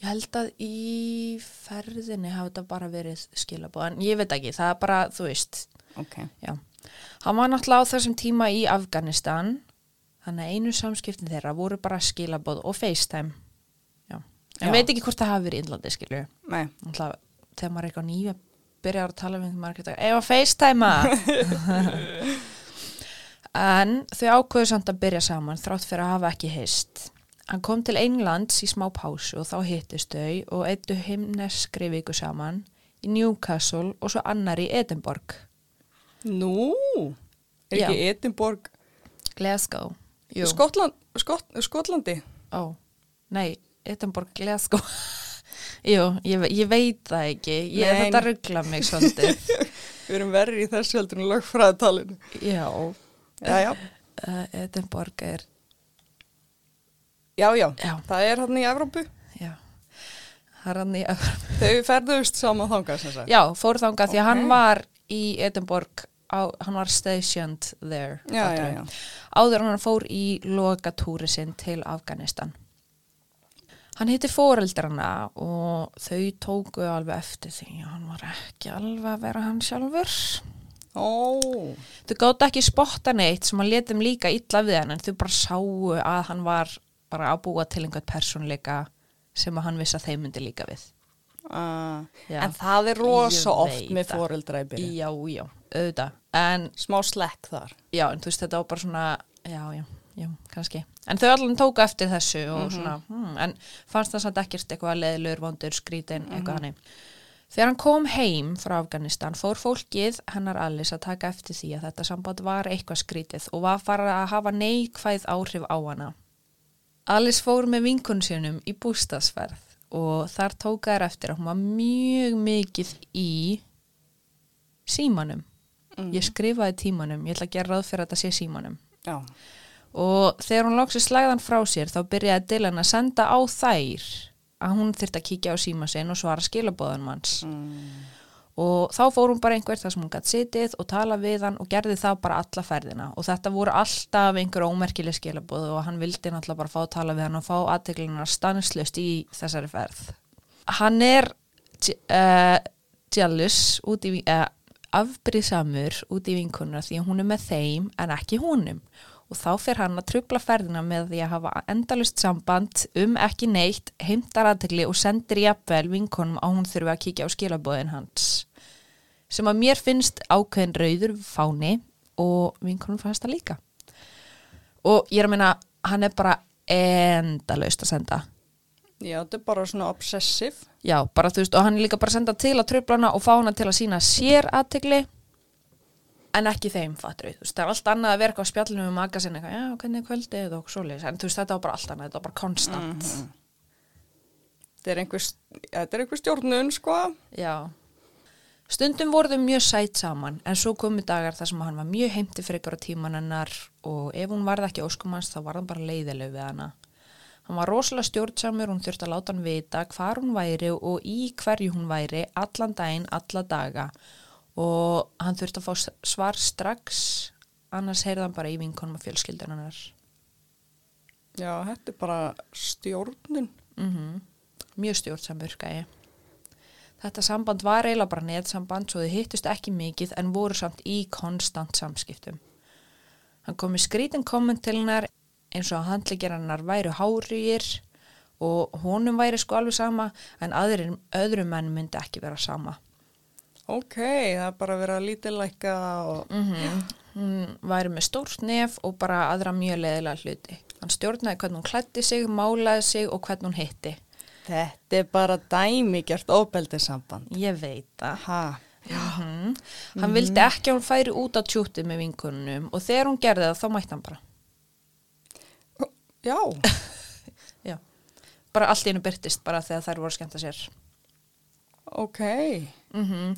A: Ég held að í ferðinni hafa þetta bara verið skilabóð, en ég veit ekki, það er bara, þú veist,
B: Ok.
A: já. Hann var náttúrulega á þessum tíma í Afganistan, þannig að einu samskiptin þeirra voru bara skilabóð og FaceTime. Já. En
B: Já.
A: veit ekki hvort það hafi verið í Indlandi, skilju.
B: Nei,
A: Náttúrulega, þegar maður er eitthvað nýja, byrjar að tala um við maður eitthvað, eða FaceTime-a! en þau ákveðu samt að byrja saman, þrátt fyrir að hafa ekki heist. Hann kom til Englands í smá pásu og þá hittist þau og eittu himneskri viku saman í Newcastle og svo annar í Edinborg.
B: nú, er
A: Já.
B: ekki Edinborg,
A: Glasgow. Jú.
B: Skotland, Skot, Skotlandi?
A: Sko, Ó, nei, Edinborg, Glasgow. Jú, ég, ve- ég veit það ekki. Ég,
B: Nei.
A: þetta ruggla mig svolítið.
B: Við erum verri í þessu heldur en lögfræðatalinu.
A: Já,
B: Já, já,
A: uh, Edinborg er
B: já, já,
A: Já.
B: það er hann í Evrópu.
A: Já, það er hann í Evrópu.
B: Þau ferðust saman þangað sem sagt.
A: Já, fór þangað því að hann
B: Ok.
A: var í Edinborg, á, hann var stationed there.
B: Já,
A: fattarðu?
B: já, já.
A: Áður en hann fór í lokatúri sinn til Afganistan. Hann hitti foreldrana og þau tóku alveg eftir því að hann var ekki alveg að vera hann sjálfur.
B: Ó,
A: Þau gáttu ekki spotta neitt sem hann letum líka illa við hann en þau bara sáu að hann var bara að búa til einhvern persónleika sem að hann vissi að þeim myndi líka við.
B: uh,
A: Já.
B: en það er rosa
A: Ég
B: oft
A: veit
B: með
A: það.
B: foreldra í byrju.
A: Já, já, auðvitað. En,
B: Smá slekk þar.
A: já, en þú veist, þetta var bara svona, já, já, já, kannski. En þau allan tóku eftir þessu og svona, hmm, en fannst það samt ekkert eitthvað leðilur, vondur, skrítin, eitthvað hannig. Þegar hann kom heim frá Afganistan fór fólkið hennar Alice að taka eftir því að þetta samband var eitthvað skrítið og var farið að hafa neikvæð áhrif á hana. Alice fór með vinkun sínum í bústasverð og þar tóka þær eftir að hún var mjög mikið í símanum. Ég skrifaði tímanum, ég ætla að gera ráð fyrir að þetta sé símanum.
B: Já,
A: Og þegar hún lóksi slæðan frá sér þá byrjaði Dylan að senda á þær að hún þyrfti að kíkja á síma sinn og svara skilabóðan manns.
B: mm.
A: og þá fór hún bara einhver þar sem hún gætt sitið og tala við hann og gerði það bara alla ferðina og þetta voru alltaf einhver ómerkileg skilabóð og hann vildi náttúrulega bara fá að tala við hann og fá aðteklinar stanslust í þessari ferð hann er uh, jealous út í uh, afbrísamur út í vinkunna því að hún er með þeim en ekki honum og þá fer hann að trubla ferðina með því að hafa endalust samband um ekki neitt, heimtar aðtegli og sendir jafnvel vinkonum að hún þurfi að kíkja á skilabóðin hans sem að mér finnst ákveðin rauður fáni og vinkonum fannst það líka og ég er að minna hann er bara endalust að senda
B: Já, þetta er bara svona obsessiv.
A: Já, bara þú veist, og hann er líka bara að senda til að tröflana og fá hana til að sína sér aðtegli en ekki þeim fattur við, þú veist, það er allt annað að vera eitthvað á spjallinu með maga sinni, eitthvað, já, hvernig er kvöldið og svoleiðis, en þú veist, þetta var bara allt annað, þetta var bara konstant
B: Þetta er einhver, þetta er einhver stjórnun, sko.
A: Já. Stundum voru þau mjög sætt saman en svo komu dagar þar sem hann var mjög heimti frekar á tíman hennar og ef hún varð ekki óskumans þá var hann bara leiðileg við hana. Hann var rosalega stjórnsamur, hún þurfti að láta hann vita hvar hún væri og í hverju hún væri allan daginn, alla daga og hann þurfti að fá s- svar strax annars heyrði hann bara í vinkonum og fjölskyldan hennar.
B: Já, þetta er bara stjórnun.
A: Mm Mjög stjórnsamur, gæi. Þetta samband var eiginlega bara netsamband svo þau hittust ekki mikið en voru samt í konstant samskiptum. Hann kom í skrítin komment til hennar eins og að handleggjar hennar væru hárýgir og honum væri sko alveg sama en aðrir, öðrum menn myndi ekki vera sama.
B: Ok, það er bara að vera lítillækka og...
A: Mm Hún væri með stórt nef og bara aðra mjög leðilega hluti. Hann stjórnaði hvernig hún klætti sig, málaði sig og hvernig hún hitti.
B: Þetta er bara dæmigjart ofbeldisamband.
A: Ég veit það.
B: Ha,
A: Mhm. Hann vildi ekki að hún færi út á tjútið með vinkunum og þegar hún gerði það þá mætti hann bara.
B: já.
A: Já. Bara allt í einu byrtist bara þegar þær voru að skemmta sér.
B: Ok.
A: Mm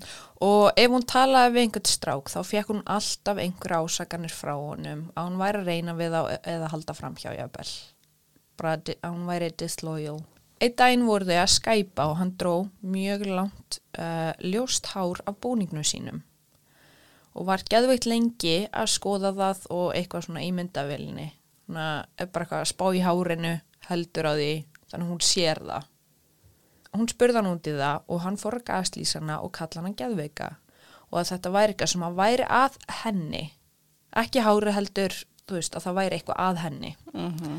A: Og ef hún talaði við einhvern strák þá fekk hún alltaf einhverja ásakanir frá honum að hún væri að reyna við þá eða halda fram hjá jafnvel. Bara di- að hún væri disloyal. Eitt daginn voru þau að skæpa og hann dró mjög langt uh, ljóst hár af búningnum sínum. og var geðveikt lengi að skoða það og eitthvað svona í myndavillinni svona er bara eitthvað að spá í hárinu heldur á því, þannig að hún sér það hún spurði hann út í það og hann fór að gaslýsa hana og kalla hana geðveika og að þetta væri eitthvað sem að væri að henni ekki hári heldur, þú veist, að það væri eitthvað að henni
B: Mm
A: Mhm.
B: -hmm.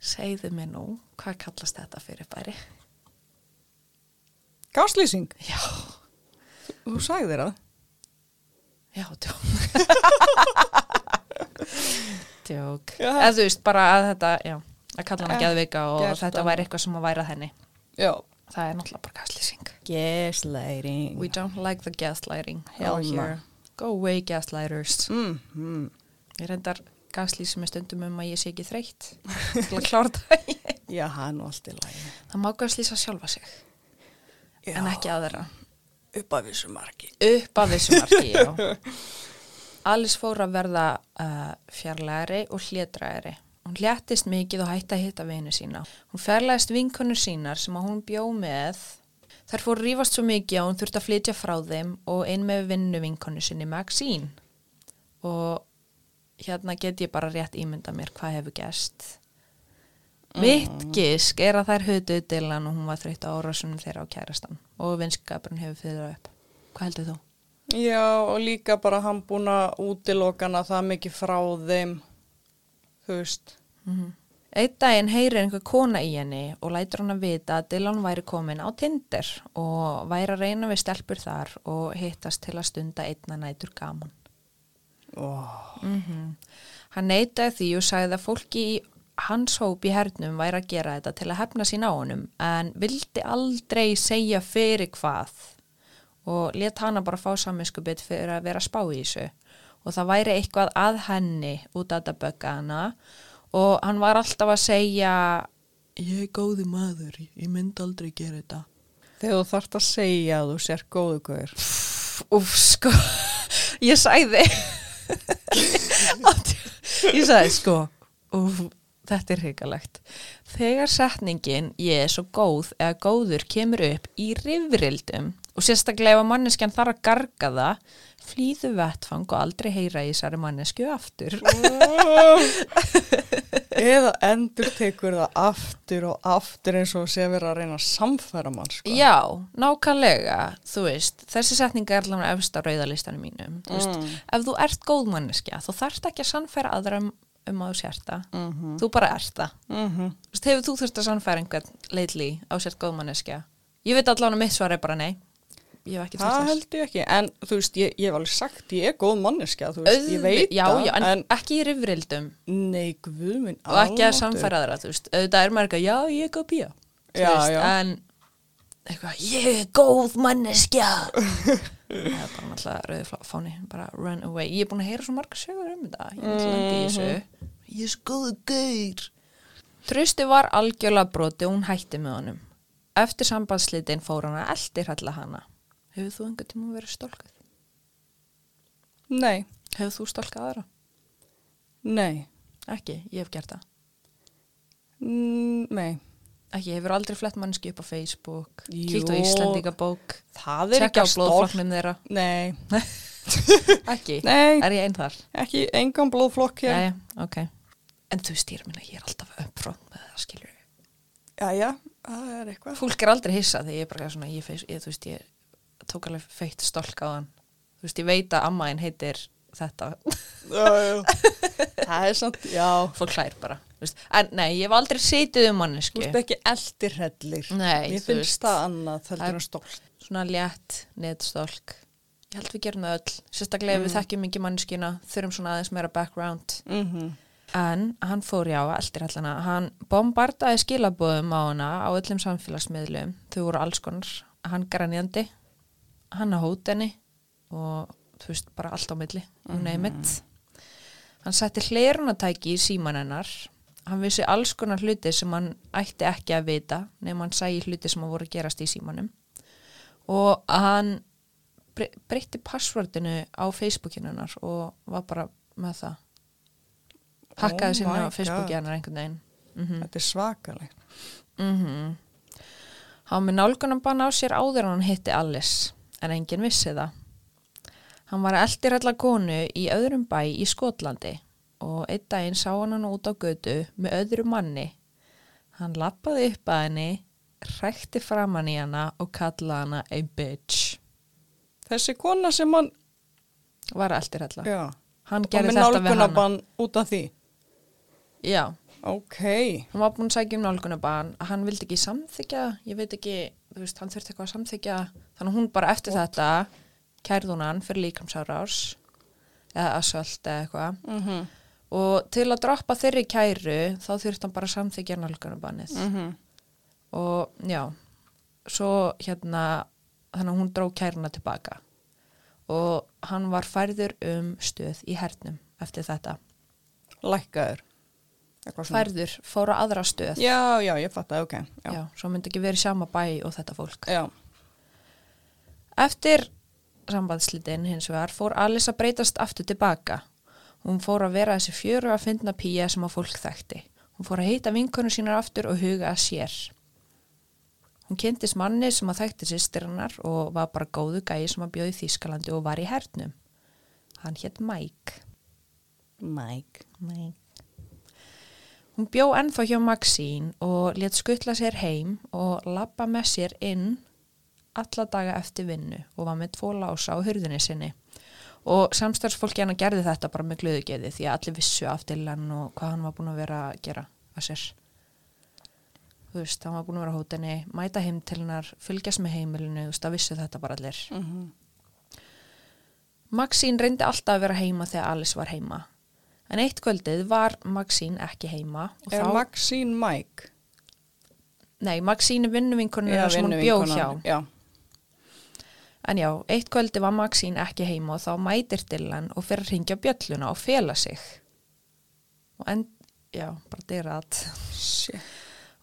A: segðu mér nú, hvað kallast þetta fyrir bæri?
B: Gaslýsing,
A: Já,
B: þú sagðir það.
A: já, djók djók
B: Já.
A: eða þú veist bara að þetta já, að kalla hana
B: Eh,
A: geðveika og
B: gert
A: þetta
B: það.
A: væri eitthvað sem að væri að henni
B: Já.
A: það er náttúrulega bara gaslýsing
B: Gaslighting.
A: we don't like the gaslighting
B: Hell
A: over
B: no.
A: here. go away gaslighters
B: Mm -hmm.
A: ég reyndar gaslýsum með stundum um að ég sé ekki þreytt til að klára það
B: Já, hann og allt í lagi.
A: það má gaslýsa sjálfa sig en ekki aðra
B: upp af þessu marki.
A: upp að þessu marki já. Alice fór að verða uh, fjarlæri og hlédraðari hún hléttist mikið og hætti að hitta vini sína hún fjarlæðist vinkonur sínar sem að hún bjó með þær fór rífast svo mikið að hún þurfti að flytja frá þeim og inn með vinnu vinkonu sinni Maxine og hérna get ég bara rétt ímynda mér hvað hefur gerst mitt gisk er að þær höfðu Dylan og hún var þreytt á árásunum þeirra á kærastan og vinskapurinn hefur fyrir upp hvað heldur þú?
B: Já, og líka bara hann búin að útilokana það mikið frá þeim, þú veist.
A: Eitt Mhm. daginn heyrir einhver kona í henni og lætur hann að vita að Dylan væri komin á Tinder og væri að reyna við stelpur þar og hittast til að stunda einna nætur gaman.
B: Oh.
A: Mhm. Hann neytaði því og sagði að fólki í hans hóp í hernum væri að gera þetta til að hefna sín á honum en vildi aldrei segja fyrir hvað og let hana bara fá saminskupið fyrir að vera að spá í þessu og það væri eitthvað að henni út að þetta bögga hana og hann var alltaf að segja ég er góði maður, ég myndi aldrei gera þetta
B: Þegar þú þarft að segja að þú sér góðu guður.
A: Úf, sko, ég sæði, ég sæði, sko, úf, þetta er hrikalegt. Þegar setningin ég er svo góð eða góður kemur upp í rifrildum og og sérstaklega ef að manneskjan þarf að garga það flýðu vettfang og aldrei heyra í þessari mannesku aftur
B: Eða endur tekur það aftur og aftur eins og sé verið að reyna að samfæra mann sko.
A: Já, nákvæmlega, þú veist, þessi setninga er allavega efst á rauðalistanum mínum. Þú veist,
B: Mm.
A: ef þú ert góð manneskja, þú þarft ekki að sannfæra aðra um, um að þú sért það.
B: Mhm.
A: Þú bara ert það.
B: Mm -hmm.
A: Þú veist, hefur þú þurft að sannfæra einhvern leitli á sért góð manneskja? Ég veit allavega að mitt svar er bara nei. Ég hef ekki
B: Það
A: þurft þess.
B: held ég ekki, en þú veist, ég, ég hef alveg sagt, ég er góð manneskja, þú veist, ég veit
A: já,
B: það,
A: já, en, ekki í rifrildum
B: nei, guð minn,
A: og ekki að
B: almáttugur.
A: sannfæra aðra, þú veist. Auðvitað er maður eitthvað, já, ég er góð bíja.
B: Já, já.
A: En eitthvað, ég er góð manneskja. það er bara náttúrulega rauði flá- fáni, bara run away. Ég er búin að heyra svo marga sögur um þetta. Ég er náttúrulega mm í þessu. Ég er svo góð gauð. Trösti var algjörlega broti og hún hætti með honum. Eftir sambandslitin fór hann að eldir halla hana. Hefur þú enga tíma verið stólkað?
B: Nei,
A: Hefur þú stólkað aðra?
B: nei,
A: Ekki, ég hef gert það.
B: mm, nei.
A: Ekki, hefur aldrei flett mannski upp á Facebook,
B: Jú.
A: kýtt á Íslandingabók,
B: Það er ekki
A: tjekka á
B: að stólk.
A: blóðflokknum þeirra.
B: Nei,
A: Ekki,
B: nei,
A: er ég einn þar?
B: ekki engan blóðflokk hér.
A: Jæja, ok. En þú stýr minna, ég er alltaf uppfront með það, skilur.
B: Já, já, það er eitthvað.
A: Fólk er aldrei hissa þegar ég er bara svona, ég, feis, ég, þú veist, ég tók alveg feitt stolk á hann. Þú veist, ég veit að amma einn heitir þetta.
B: Já, já. það er samt, já.
A: Fólk hlær bara. þú Veist. En nei, ég hef aldrei sitið um
B: Þú
A: mannesku.
B: ert ekki eldirhellir.
A: Nei,
B: Ég
A: þú
B: finnst
A: veist.
B: það annað,
A: Það-
B: heldur en stólk.
A: Svona létt, netstolk. Ég held við gerum það öll. Sérstaklega ef við þekkjum ekki manneskina, þurfum svona aðeins meira background.
B: Mm -hmm.
A: En hann fór já, eldir allana, hann bombardaði skilabóðum á hana á öllum samfélagsmiðlum, þau voru alls konar, hann grænjandi, hann að hóta henni og þú veist bara allt á milli, hún neymitt. Hann setti hlerunatæki í síman hennar, hann vissi alls konar hluti sem hann ætti ekki að vita nema hann sæi hluti sem hann voru að gerast í símanum og hann bre- breytti passvördinu á Facebookinu hennar og var bara með það hakkaði
B: Oh
A: sinna á
B: my
A: Facebooki Mhm.
B: God.
A: hennar einhvern veginn
B: Þetta er svakaleg.
A: mm -hmm. hann var með nálgunum bann á sér áður en hann hitti Alice en enginn vissi það hann var eldir allar konu í öðrum bæ í Skotlandi og einn daginn sá hann hann út á götu með öðru manni hann lappaði upp að henni hrækti framan í hana og kallaði hana a bitch
B: Þessi kona sem hann,
A: var eldir allar
B: já,
A: hann
B: og
A: gerði
B: með
A: þetta við hana
B: nálgunabann út af því.
A: já
B: Ok,
A: hann var búinn að sækja um nálgunabann hann vildi ekki samþykja það. ég veit ekki, þú veist, hann þurfti eitthvað að samþykja það. þannig að hún bara eftir þetta kærði hún hann fyrir líkamsárás eða assault eða eitthvað
B: Mhm.
A: og til að droppa þeirri kæru þá þurfti hann bara að samþykja nálgunabannið
B: Mhm.
A: og já svo hérna þannig að hún dró kæruna tilbaka og hann var færður um stöð í hernum eftir þetta
B: lækkaður. Eitthvað svona.
A: færður, fór á aðra stöð
B: Já, já, ég fatt ok. Já.
A: já. svo myndi ekki verið sama bæ og þetta fólk.
B: Já.
A: Eftir sambandslítin hins vegar fór Alice að breytast aftur tilbaka. Hún fór að vera þessi fjöru að finna píja sem að fólk þekkti. Hún fór að heita vinkonu sínar aftur og huga að sér. Hún kynntist manni sem að þekkti sýstir hennar og var bara góðu gæi sem að bjóði Þýskalandi og var í hernum. Hann hétt Mike.
B: Mike.
A: Nei. Hún bjó ennþá hjá Maxín og let skuttla sér heim og labba með sér inn alla daga eftir vinnu og var með tvo lása á hurðinni sinni. Og samstarfsfólki hennar gerði þetta bara með glöðugeði því að allir vissu af til hann og hvað hann var búin að vera að gera að sér. Þú veist, hann var búin að vera á hótinni, mæta heim til hennar, fylgjast með heimilinu, þú veist, það vissu þetta bara allir.
B: Mm -hmm.
A: Maxín reyndi alltaf að vera heima þegar Alice var heima. En eitt kvöldið var Maxín ekki heima. og
B: Er Maxine Mike?
A: Nei, Maxín er vinnuvinkonina sem hún bjó
B: vinnuvinkonan.
A: hjá.
B: Já.
A: En já, eitt kvöldi var Maxín ekki heima og þá mætir Dylan og fer að ringja bjölluna og fela sig. Og end, já, bara dyra að.
B: Shit.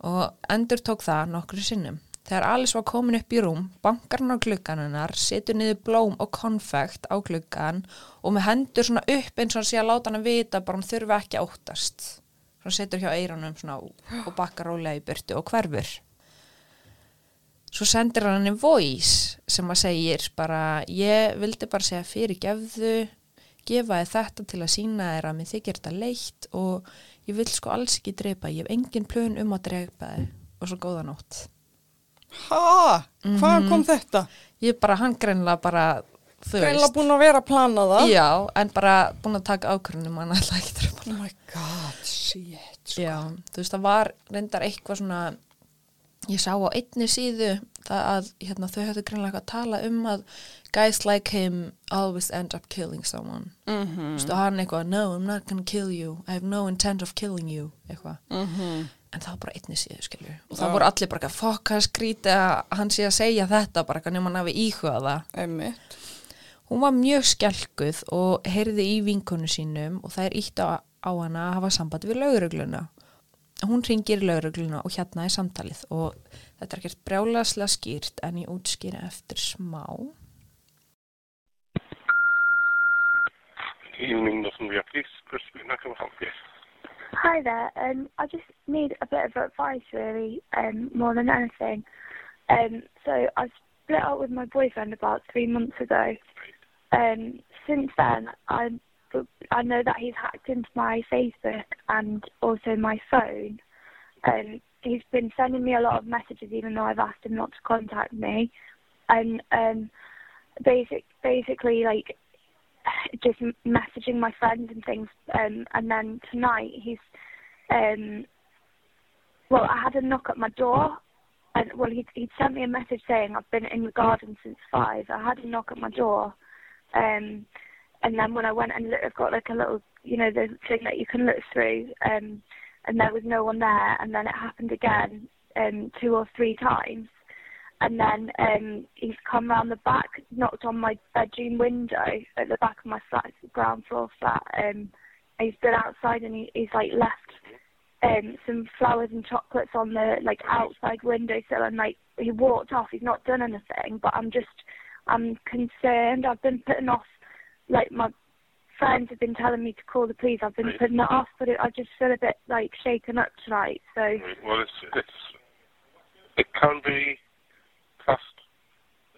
A: Og endur tók það nokkru sinnum. Þegar Alice var komin upp í rúm, bankar hann á gluggan hennar, setur niður blóm og konfekt á gluggan og með hendur svona upp eins og hann sé að láta hann vita bara hann þurfi ekki að óttast. Svo hann setur hjá eiranum svona og bakkar rólega í burtu og hverfur. svo sendir hann henni voice sem að segir bara ég vildi bara segja fyrirgefðu gefa þið þetta til að sína þér að mér þykir þetta leitt og ég vil sko alls ekki drepa, ég hef engin plön um að drepa þið og svo góða nótt
B: Ha, hvaðan kom þetta?
A: ég bara, hann greinlega bara Mhm. þú
B: Greinlega búin að vera að plana það.
A: já, en bara búin að taka ákvörunum hann ætlaði ekki að drepa
B: Oh my god, shit. sko.
A: Já, þú veist, það var reyndar eitthvað svona, ég sá á einni síðu það að hérna, þau höfðu greinlega að tala um að guys like him always end up killing someone. Þú veist, og hann eitthvað, no, I'm not gonna kill you, I have no intent of killing you, eitthvað.
B: Mhm.
A: En það var bara einni síðu, skilju. Og það voru allir bara eitthvað, fuck, hann skrítið að hann sé að segja þetta, bara eitthvað nema hann hafi íhugað það.
B: Einmitt.
A: Hún var mjög skjálkuð og heyrði í vinkonu sínum og það er ítt á, á hana að hafa samband við laurugluna. Hún ringir laurugluna og hérna er samtalið og þetta er ekkert brjálaslega skýrt en ég útskýra eftir smá.
C: Evening, Northern Via, please. Chris Lina, can I help you?
D: Hi there. Um, I just need a bit of advice, really, um, more than anything. Um, so I split up with my boyfriend about three months ago. Um, since then, I I know that he's hacked into my Facebook and also my phone. Um, he's been sending me a lot of messages, even though I've asked him not to contact me. And um, basic, basically, like just m- messaging my friends and things. Um, and then tonight he's, um, well, I had a knock at my door, and well, he he sent me a message saying I've been in the garden since five. I had a knock at my door, um, and then when I went and looked, I've got like a little, you know, the thing that you can look through, um, and there was no one there. And then it happened again, um, two or three times. And then um, he's come round the back, knocked on my bedroom window at the back of my flat, ground floor flat. Um, and he's been outside and he, he's like left um, some flowers and chocolates on the like outside window sill, and like he walked off. He's not done anything, but I'm just I'm concerned. I've been putting off like my friends have been telling me to call the police. I've been putting it off, but it, I just feel a bit like shaken up tonight. So.
C: Well, it's, it's, it can be classed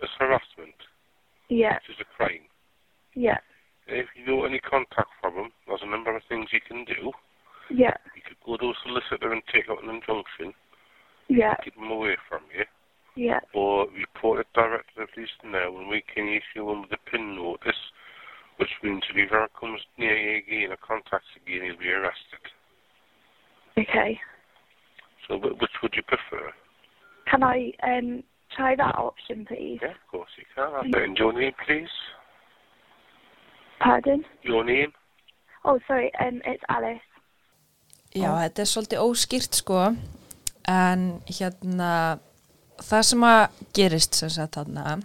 C: as harassment,
D: Yeah,
C: which is a crime.
D: yeah,
C: If you know any contact from them, there's a number of things you can do.
D: yeah,
C: You could go to a solicitor and take out an injunction,
D: yeah,
C: keep them away from you,
D: yeah,
C: or report it directly to the police now, and we can issue them with a PIN notice, which means if he ever comes near you again or contacts you again, he'll be arrested.
D: okay.
C: So, wh- which would you prefer?
D: Can I um try that option, please?
C: Yeah, of course you can. have it. And your name, please?
D: Pardon?
C: Your name?
D: Oh, sorry. Um, it's Alice.
A: Já, þetta er svolítið óskýrt sko en hérna það sem að gerist sem sagt þarna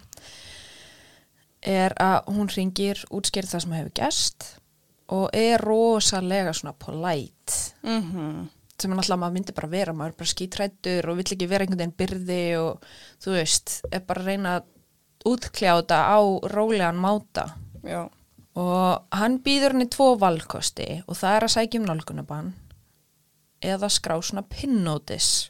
A: er að hún ringir útskýrð það sem hefur gerst og er rosalega svona polite
B: Mhm.
A: sem er náttúrulega maður myndi bara vera, maður er bara skítrættur og vill ekki vera einhvern veginn byrði og þú veist, er bara að reyna að útkljá þetta á rólegan máta
B: Já.
A: og hann býður henni tvo valkosti og það er að sækja um nálgunabann eða skrá svona pinnótis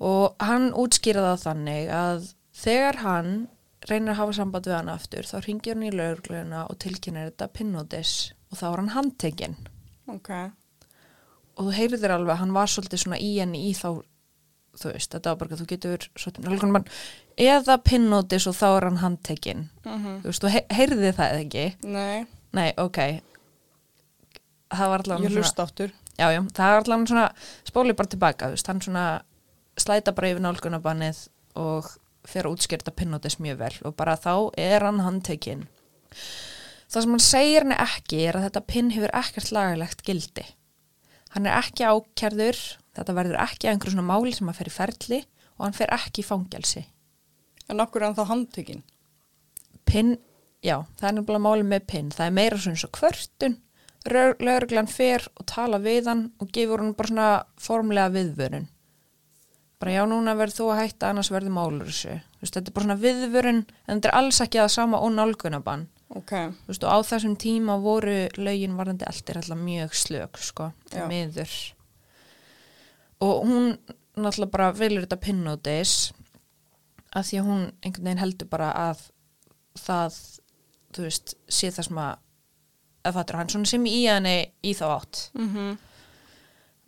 A: og hann útskýra það þannig að þegar hann reynir að hafa samband við hann aftur þá ringir hann í lögregluna og tilkynir þetta pinnótis og þá er hann handtekinn
B: Ok.
A: og þú heyrðir alveg að hann var svolítið svona í henni í þá þú veist, þetta var bara að þú getur svolítið nálgun mann eða pinnótis og þá er hann handtekinn þú veist, þú hey- heyrði það ekki
B: Nei,
A: nei, ok það var allan
B: ég hlusta aftur.
A: já, já, það var allan svona spólið bara tilbaka, þú veist, hann svona slæta bara yfir nálgunabannið og fer að útskýrta pinnótis mjög vel og bara þá er hann handtekinn það sem hann segir henni ekki er að þetta pinn hefur ekkert lagalegt gildi hann er ekki ákjærður þetta verður ekki að einhverju svona máli sem að fer í ferli og hann fer ekki í fangelsi
B: En okkur er hann þá handtekinn?
A: pinn, já, það er nefnilega málið með pinn, það er meira svona eins og kvörtun lögreglan fer og tala við hann og gefur hann bara svona formlega viðvörun bara já, núna verður þú að hætta annars verður málur þessu, þú veist, þetta er bara svona viðvörun en þetta er alls ekki að sama og nálgunabann
B: Ok.
A: þú veist, og á þessum tíma voru lögin varðandi eldir alltaf mjög slök, sko,
B: Já.
A: miður og hún náttúrulega bara velur þetta pinnótis að því að hún einhvern veginn heldur bara að það, þú veist, sé það sem að að fattur hann svona sem í henni í þá átt. Mm -hmm.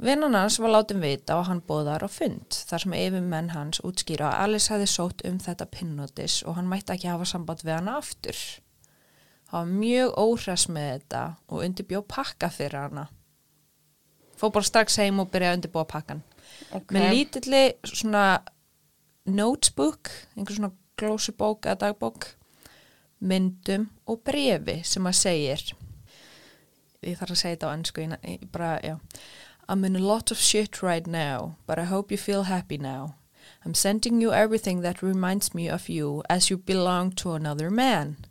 A: Vinnan hans var látum vita og hann bóðar á fund þar sem yfir menn hans útskýra að Alice hefði sótt um þetta pinnotis og hann mætti ekki hafa samband við hana aftur. Hann var mjög óhress með þetta og undirbjó pakka fyrir hana. Fór bara strax heim og byrjaði að undirbúa pakkan.
B: Ok.
A: Með lítilli svona notesbook, einhver svona glósubók eða dagbók, myndum og brefi sem að segir ég þarf að segja þetta á ennsku ég, ég bara, já I'm in a lot of shit right now but I hope you feel happy now I'm sending you everything that reminds me of you as you belong to another man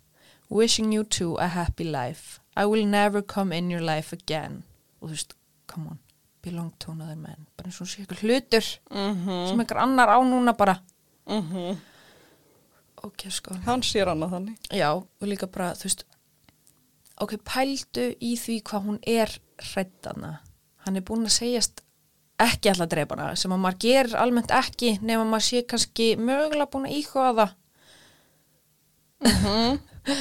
A: wishing you two a happy life I will never come in your life again og þú veist, come on belong to another man bara eins og sé eitthvað hlutur
B: Mhm.
A: sem einhver annar á núna bara ok, sko
B: Hann sér annað þannig.
A: Já, og líka bara, þú veist, ok, pældu í því hvað hún er hrættana. Hann er búin að segjast ekki alltaf dreipana, sem að maður gerir almennt ekki nema maður sé kannski mögulega búin að íkvaða það.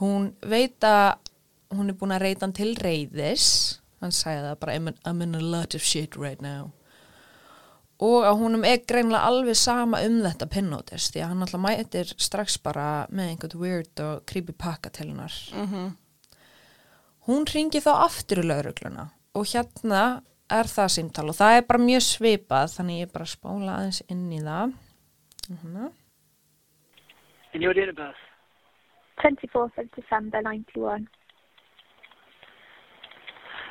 A: hún veit að hún er búin að reyta hann til reyðis. Hann sagði það bara, I'm in, I'm in a lot of shit right now. Og að húnum er greinlega alveg sama um þetta pinnótis því að hann alltaf mætir strax bara með einhvern weird og creepy pakka til hennar. Hún ringi þá aftur í laurugluna og hérna er það símtal og það er bara mjög svipað þannig ég bara spóla aðeins inn í það. Hérna.
E: And your date of birth?
D: 24th of December 91.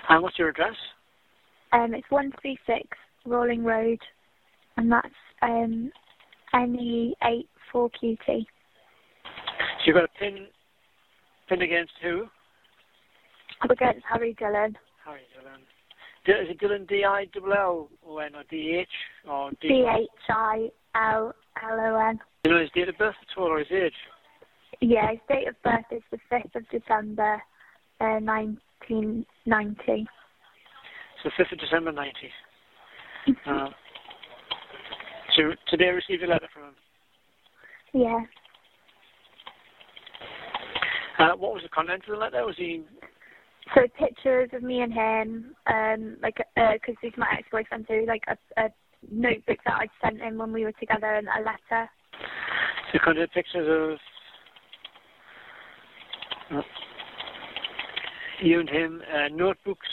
E: And what's your address?
D: Um, it's 136 Rolling Road, and that's um, E NE84QT.
E: So you've got a pin, pin against who?
D: I'm against Harry Dillon.
E: Harry Dillon. D- is it Dillon D-I-L-L-O-N or D-H or D?
D: D H I L L O N.
E: Do you know his date of birth at all or his age?
D: Yeah, his date of birth is the 5th of December uh, 1990.
E: So 5th of December 90. Uh, so today I received a letter from him.
D: Yeah.
E: Uh, what was the content of the letter? Was he...
D: So pictures of me and him, um, like, because he's my ex-boyfriend too, like a, a notebook that I'd sent him when we were together and a letter.
E: The content pictures of... Uh, you and him, uh, notebooks,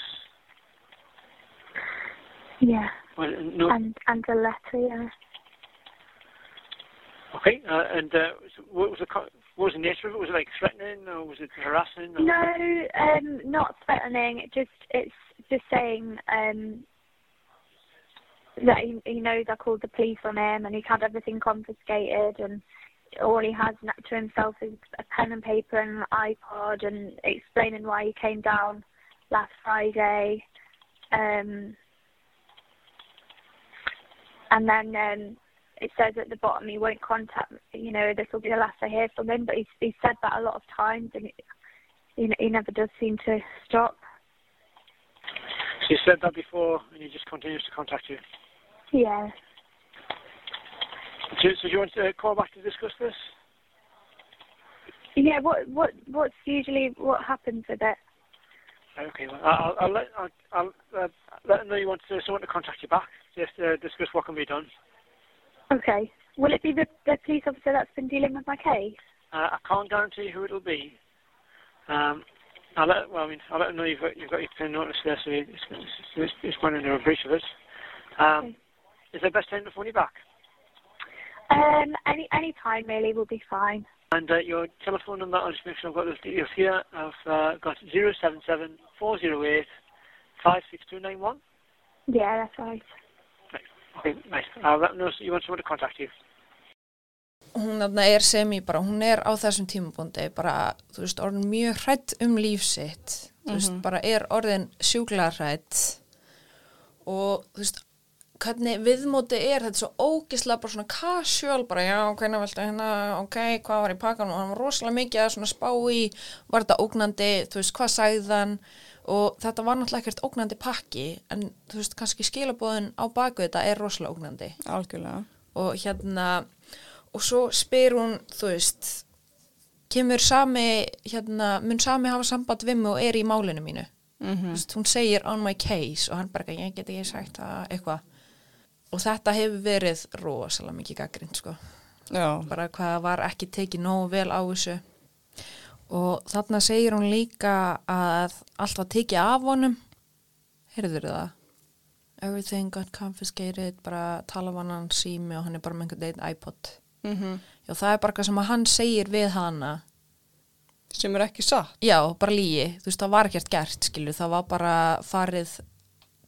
D: Yeah.
E: well, uh, note,
D: And and a letter, yeah.
E: Okay, uh, and uh, so what was the co- what was the nature of it? Was it like threatening or was it harassing? Or?
D: No, um, not threatening. It just it's just saying um, that he, he knows I called the police on him, and he's had everything confiscated, and all he has n- to himself is a pen and paper and an iPod, and explaining why he came down last Friday. Um, and then um, it says at the bottom he won't contact. You know, this will be the last I hear from him. But he's he's said that a lot of times, and it, he, he never does seem to stop.
E: So you said that before, and he just continues to contact you.
D: Yeah.
E: So, so do you want to uh, call back to discuss this?
D: Yeah. What what what's usually what happens with it?
E: Okay, well, Uh, I'll, I'll let I'll, I'll uh, let them know you want to, someone to contact you back. Just uh, discuss what can be done.
D: Okay. Will it be the, the police officer that's been dealing with my case?
E: Uh, I can't guarantee who it'll be. Um, I'll let well, I mean, I'll let them know you've got, you've got your pin notice there, so it's it's, it's, it's going into a breach of it. Um,
D: Okay.
E: Is there a best time to phone you back?
D: Um. Any any time really will be fine.
E: And uh, your telephone number, I'll just make sure I've got those details here. I've uh, got 077 408 56291.
D: Yeah. That's right.
E: Okay, nice. I'll let them know so Uh, you want someone to contact you.
A: Hún þarna er sem ég bara, hún er á þessum tímabúndi bara, þú veist, orðin mjög hrætt um líf sitt. Þú veist, bara er orðin sjúklega hrætt og þú veist, hvernig viðmóti er þetta svo ógislega bara svona casual bara já, hvernig veltu hérna, ok, hvað var í pakkanum og hann var rosalega mikið að svona spá í var þetta ógnandi, þú veist, hvað sagðan og þetta var náttúrulega ekkert ógnandi pakki en þú veist, kannski skilabóðin á baku þetta er rosalega ógnandi
B: Algjörlega.
A: og hérna og svo spyr hún, þú veist, kemur sami, hérna, mun sami hafa samband við mig og er í málinu mínu. Þú veist, hún segir on my case og hann bara, eitthvað, ég get ekki sagt það, eitthvað. Og þetta hefur verið rosalega mikið gaggrind, sko.
B: Já,
A: Bara hvað var ekki tekið nógu vel á þessu. Og þarna segir hún líka að allt var tekið af honum. Heyrður það? Everything got confiscated, bara tala um hann sími og hann er bara með einhvern veginn iPod.
B: Mhm.
A: Já, það er bara eitthvað sem að hann segir við hana.
B: sem er ekki satt.
A: Já, bara lígi. Þú veist, það var ekkert gert, skilju. Það var bara farið,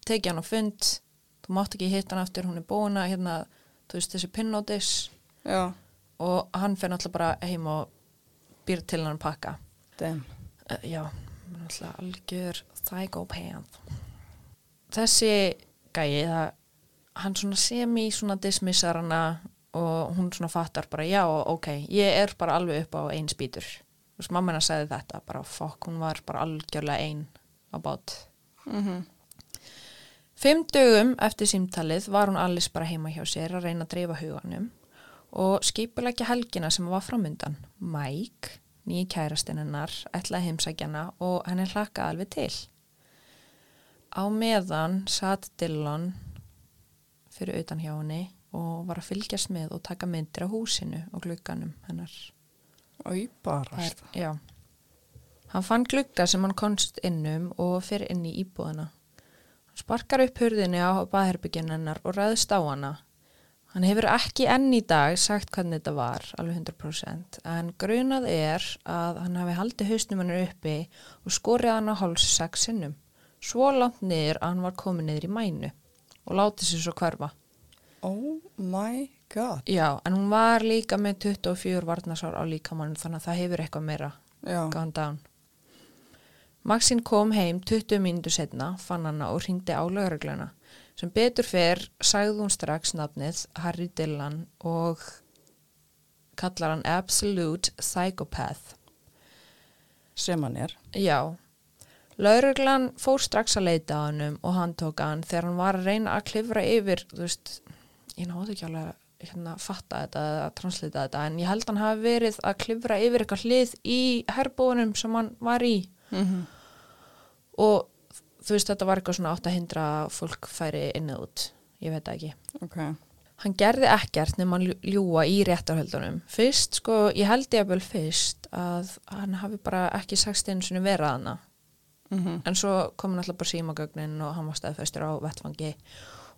A: tekið hann á fund, þú mátt ekki hitta hann aftur, hún er búin að, hérna, þú veist, þessi pinnótis
B: Já,
A: og hann fer náttúrulega bara heim og býr til hann pakka.
B: damn.
A: Uh, já, hann er náttúrulega algjör psychopath. Þessi gæi, það, hann svona semi svona dismissar hana og hún svona fattar bara, já, ok, ég er bara alveg upp á einn spýtur. Þú veist, mamma hennar sagði þetta, bara fokk, hún var bara algjörlega ein á bát. Fimm dögum eftir símtalið var hún Alice bara heima hjá sér að reyna að dreifa huganum og skipulegja helgina sem var framundan. Mike, nýi kærastinn hennar, ætlaði heimsækjana og henni hlakkaði alveg til. Á meðan satt Dylan fyrir utan hjá henni og var að fylgjast með og taka myndir á húsinu og glugganum hennar.
B: Í barast.
A: Það er- Já. Hann fann glugga sem hann komst innum og fyrir inn í íbúðina. Hann sparkar upp hurðinni á baðherbyggin hennar og ræðist á hana. Hann hefur ekki enn í dag sagt hvernig þetta var, alveg 100%, en grunað er að hann hafi haldið hausnum hennar uppi og skorið hann á háls sex sinnum, svo langt niður að hann var komin niður í mænu og látið sér svo hverfa.
B: Oh my god.
A: Já, en hún var líka með 24 varnasár á líkamann þannig að það hefur eitthvað meira
B: Já,
A: gone down. Maxine kom heim 20 mínútur setna, fann hana og hringdi á lögregluna. Sem betur fer sagði hún strax nafnið Harry Dillon og kallar hann Absolute Psychopath.
B: sem hann er.
A: Já, lauruglan fór strax að leita að hannum og hann tók hann þegar hann var að reyna að klifra yfir, þú veist, ég náðu ekki alveg að hérna, fatta þetta eða að translita þetta, en ég held hann hafi verið að klifra yfir eitthvað hlið í herbúðunum sem hann var í og þú veist, þetta var eitthvað svona 800 fólk færi inn eða út, ég veit það ekki.
B: Ok.
A: Hann gerði ekkert nema að ljú- ljúga í réttarhöldunum. Fyrst, sko, ég held ég að vel fyrst að hann hafi bara ekki sagst einu sinni verið hana.
B: Mm
A: En svo kom hann alltaf bara símagögnin og hann var staðfestur á vettfangi.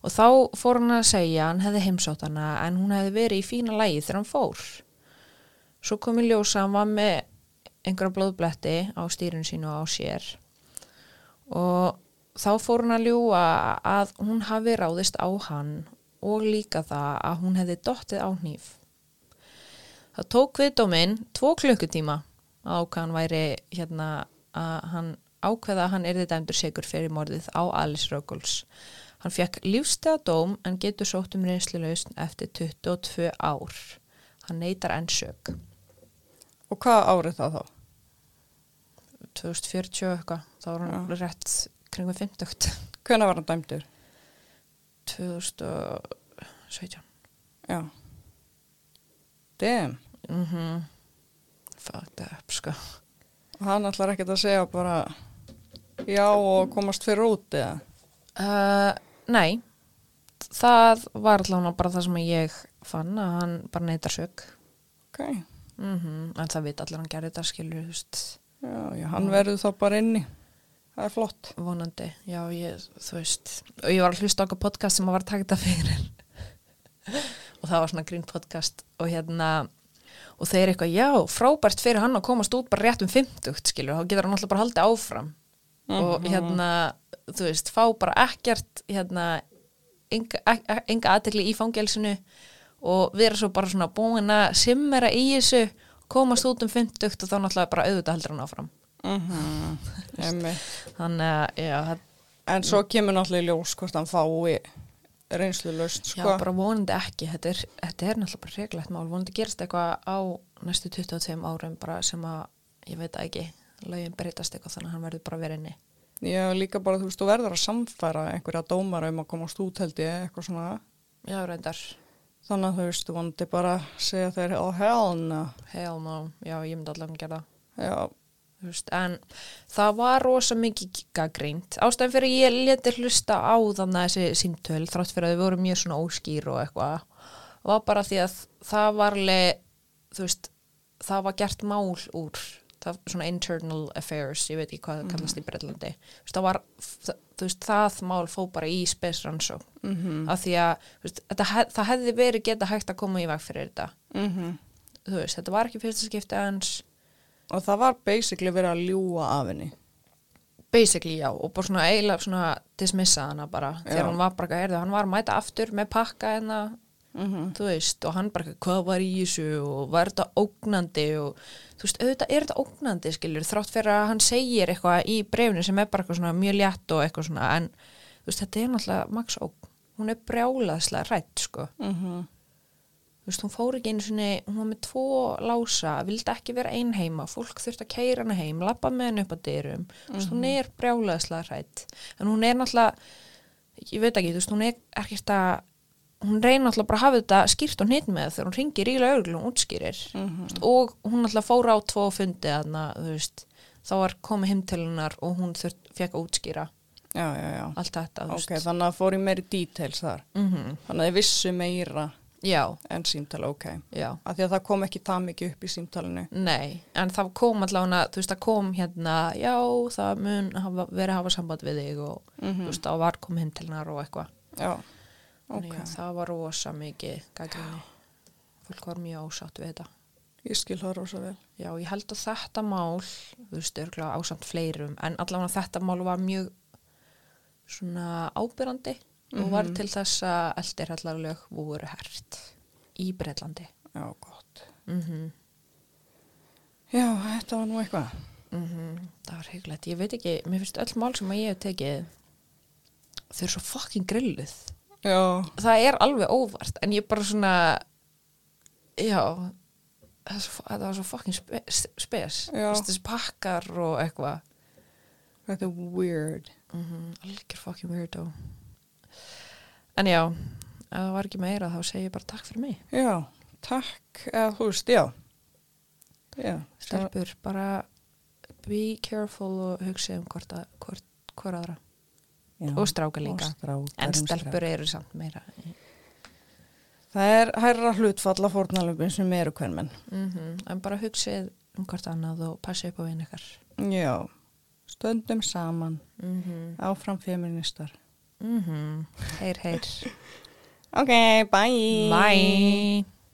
A: Og þá fór hann að segja að hann hefði heimsótt hana en hún hefði verið í fína lægi þegar hann fór. Svo kom í ljósa að hann var með einhverja blóðbletti á stýrun sínu og á sér. Og þá fór hann að ljúa að hún hafi ráðist á hann og líka það að hún hefði dottið á hníf. Það tók við dóminn tvo klukkutíma að ákvæðan væri hérna að hann ákveða að hann erði dæmdur segur fyrir morðið á Alice Ruggles. Hann fekk lífstega dóm en getur sótt um reynslulausn eftir 22 ár. Hann neytar enn sög.
B: Og hvað árið það þá?
A: 2040 og eitthvað, þá var hann rétt kringum 50.
B: Hvenær var hann dæmdur?
A: 2017.
B: Já. Damn.
A: Mhm. Fucked up, sko.
B: Og hann ætlar ekkert að segja bara já og komast fyrir út eða?
A: Uh, nei, það var allavega bara það sem ég fann að hann bara neytar sög.
B: Ok.
A: Mm En það veit allir hann gerði þetta skilur, þú veist,
B: Já, já, hann verður þá bara inni. Það er flott.
A: vonandi. Já, ég, þú veist, og ég var að hlusta á okkur podcast sem að var að taka þetta fyrir. og það var svona grín podcast og hérna, og þeir eitthvað, já, frábært fyrir hann að komast út bara rétt um 50, skilur, þá getur hann alltaf bara haldið áfram. Og hérna, þú veist, fá bara ekkert, hérna, enga, ek- enga aðtekli í fangelsinu og vera svo bara svona búin að simmera í þessu, komast út um 50 og þá náttúrulega bara auðvitað heldur hann áfram.
B: Mhm. Einmitt.
A: Þannig að, já, það,
B: En svo kemur náttúrulega í ljós hvort hann fái reynslu löst,
A: já
B: sko.
A: bara vonandi ekki, þetta er, þetta er náttúrulega bara reglegt mál, vonandi gerist eitthvað á næstu 22 árum bara sem að, ég veit það ekki, lögin breytast eitthvað þannig að hann verður bara verinni.
B: Já, líka bara, þú veist, þú verður að samfæra einhverja dómara um að komast út, held ég, eitthvað svona.
A: Já, reyndar.
B: Þannig að þú veist, þú vandi bara að segja þeir, oh hell no.
A: hell no, já, ég myndi allan gera það
B: Já,
A: Þú veist, en það var rosa mikið gagrínt ástæðan fyrir ég leti hlusta á þannig að þessi símtöl þrátt fyrir að við vorum mjög svona óskýr og eitthvað var bara því að það var alveg, þú veist, það var gert mál úr það, svona internal affairs, ég veit ekki hvað það kallast í Breitlandi þú veist, það var, það, þú veist, það mál fó bara í spesrannsó mm -hmm. af því að þú veist, þetta, hef- það hefði verið geta hægt að koma í veg fyrir þetta
B: mhm.
A: þú veist, þetta var ekki fyrsta skipti hans
B: Og það var basically verið að ljúa af henni.
A: basically já og bara svona eiginlega svona dismissa hana bara þegar hún var bara eitthvað erðu, hann var að mæta aftur með pakka hérna þú veist og hann bara eitthvað, hvað var í þessu og var þetta ógnandi og þú veist auðvitað er þetta ógnandi skilur þrátt fyrir að hann segir eitthvað í brefni sem er bara eitthvað svona mjög létt og eitthvað svona en þú veist þetta er náttúrulega max ógn hún er brjálaðslega rætt sko þú veist, hún fór ekki einu sinni, hún var með tvo lása, vildi ekki vera ein heima, fólk þurfti að keira hana heim, labba með henni upp á dyrum, þú veist, hún er brjálaðislega hrætt, en hún er náttúrulega, ég veit ekki, þú veist, hún er ekkert að, hún reynir náttúrulega bara að hafa þetta skýrt og hnýtt með þegar hún ringir í lögreglum og útskýrir, þú veist, og hún náttúrulega fór á tvo fundi þarna, þú veist, þá var komið heim til hennar og hún þurft, fekk að útskýra
B: Já, já, já.
A: allt þetta, þú
B: Ok,
A: veist, Mhm.
B: þannig að það fór í meiri details þar. -hmm. Þannig að þið vissu meira
A: já,
B: en símtala, ok.
A: já.
B: Af því að það kom ekki það mikið upp í símtalinu.
A: Nei, en það kom allavega, þú veist, það kom hérna, já, það mun hafa, verið að hafa samband við þig og þú veist, það var komið heim til hennar og eitthvað.
B: Já,
A: Þannig
B: ok.
A: að Það var rosa mikið gaggrinni. Fólk var mjög ásátt við þetta.
B: Ég skil það rosa vel.
A: Já, ég held að þetta mál, þú veist, örgulega ásamt fleirum, en allavega þetta mál var mjög svona ábyrrandi og var til þess að eldir allaveg voru hert í Mhm. Breitlandi.
B: Já, gott. Já, þetta var nú eitthvað.
A: Það var heglætt, ég veit ekki, mér finnst öll mál sem að ég hef tekið þau eru svo fucking grilluð
B: Já,
A: það er alveg óvart, en ég bara svona já það er svo- það var svo fucking spe- spes
B: Já.
A: Vist, þessi pakkar og eitthvað
B: þetta er weird. Mhm.
A: algjör fucking weirdo en já ef það var ekki meira þá segi ég bara takk fyrir mig
B: Já, takk, eða þú veist, já. Já, það-
A: stelpur, bara be careful og hugsa um hvort, að, hvort, hvort aðra
B: já.
A: og stráka líka,
B: Og strákar
A: en
B: um
A: stelpur eru samt meira
B: Það er hærra hlutfalla fórnalöfum sem eru hvernmenn.
A: mm En bara hugsið um hvort annað og passið upp á einu ykkar.
B: Já, stöndum saman,
A: Mm -hmm.
B: Mhm. áfram feministar.
A: Mhm. Heyr, heyr.
B: Ok, bye!
A: Bye.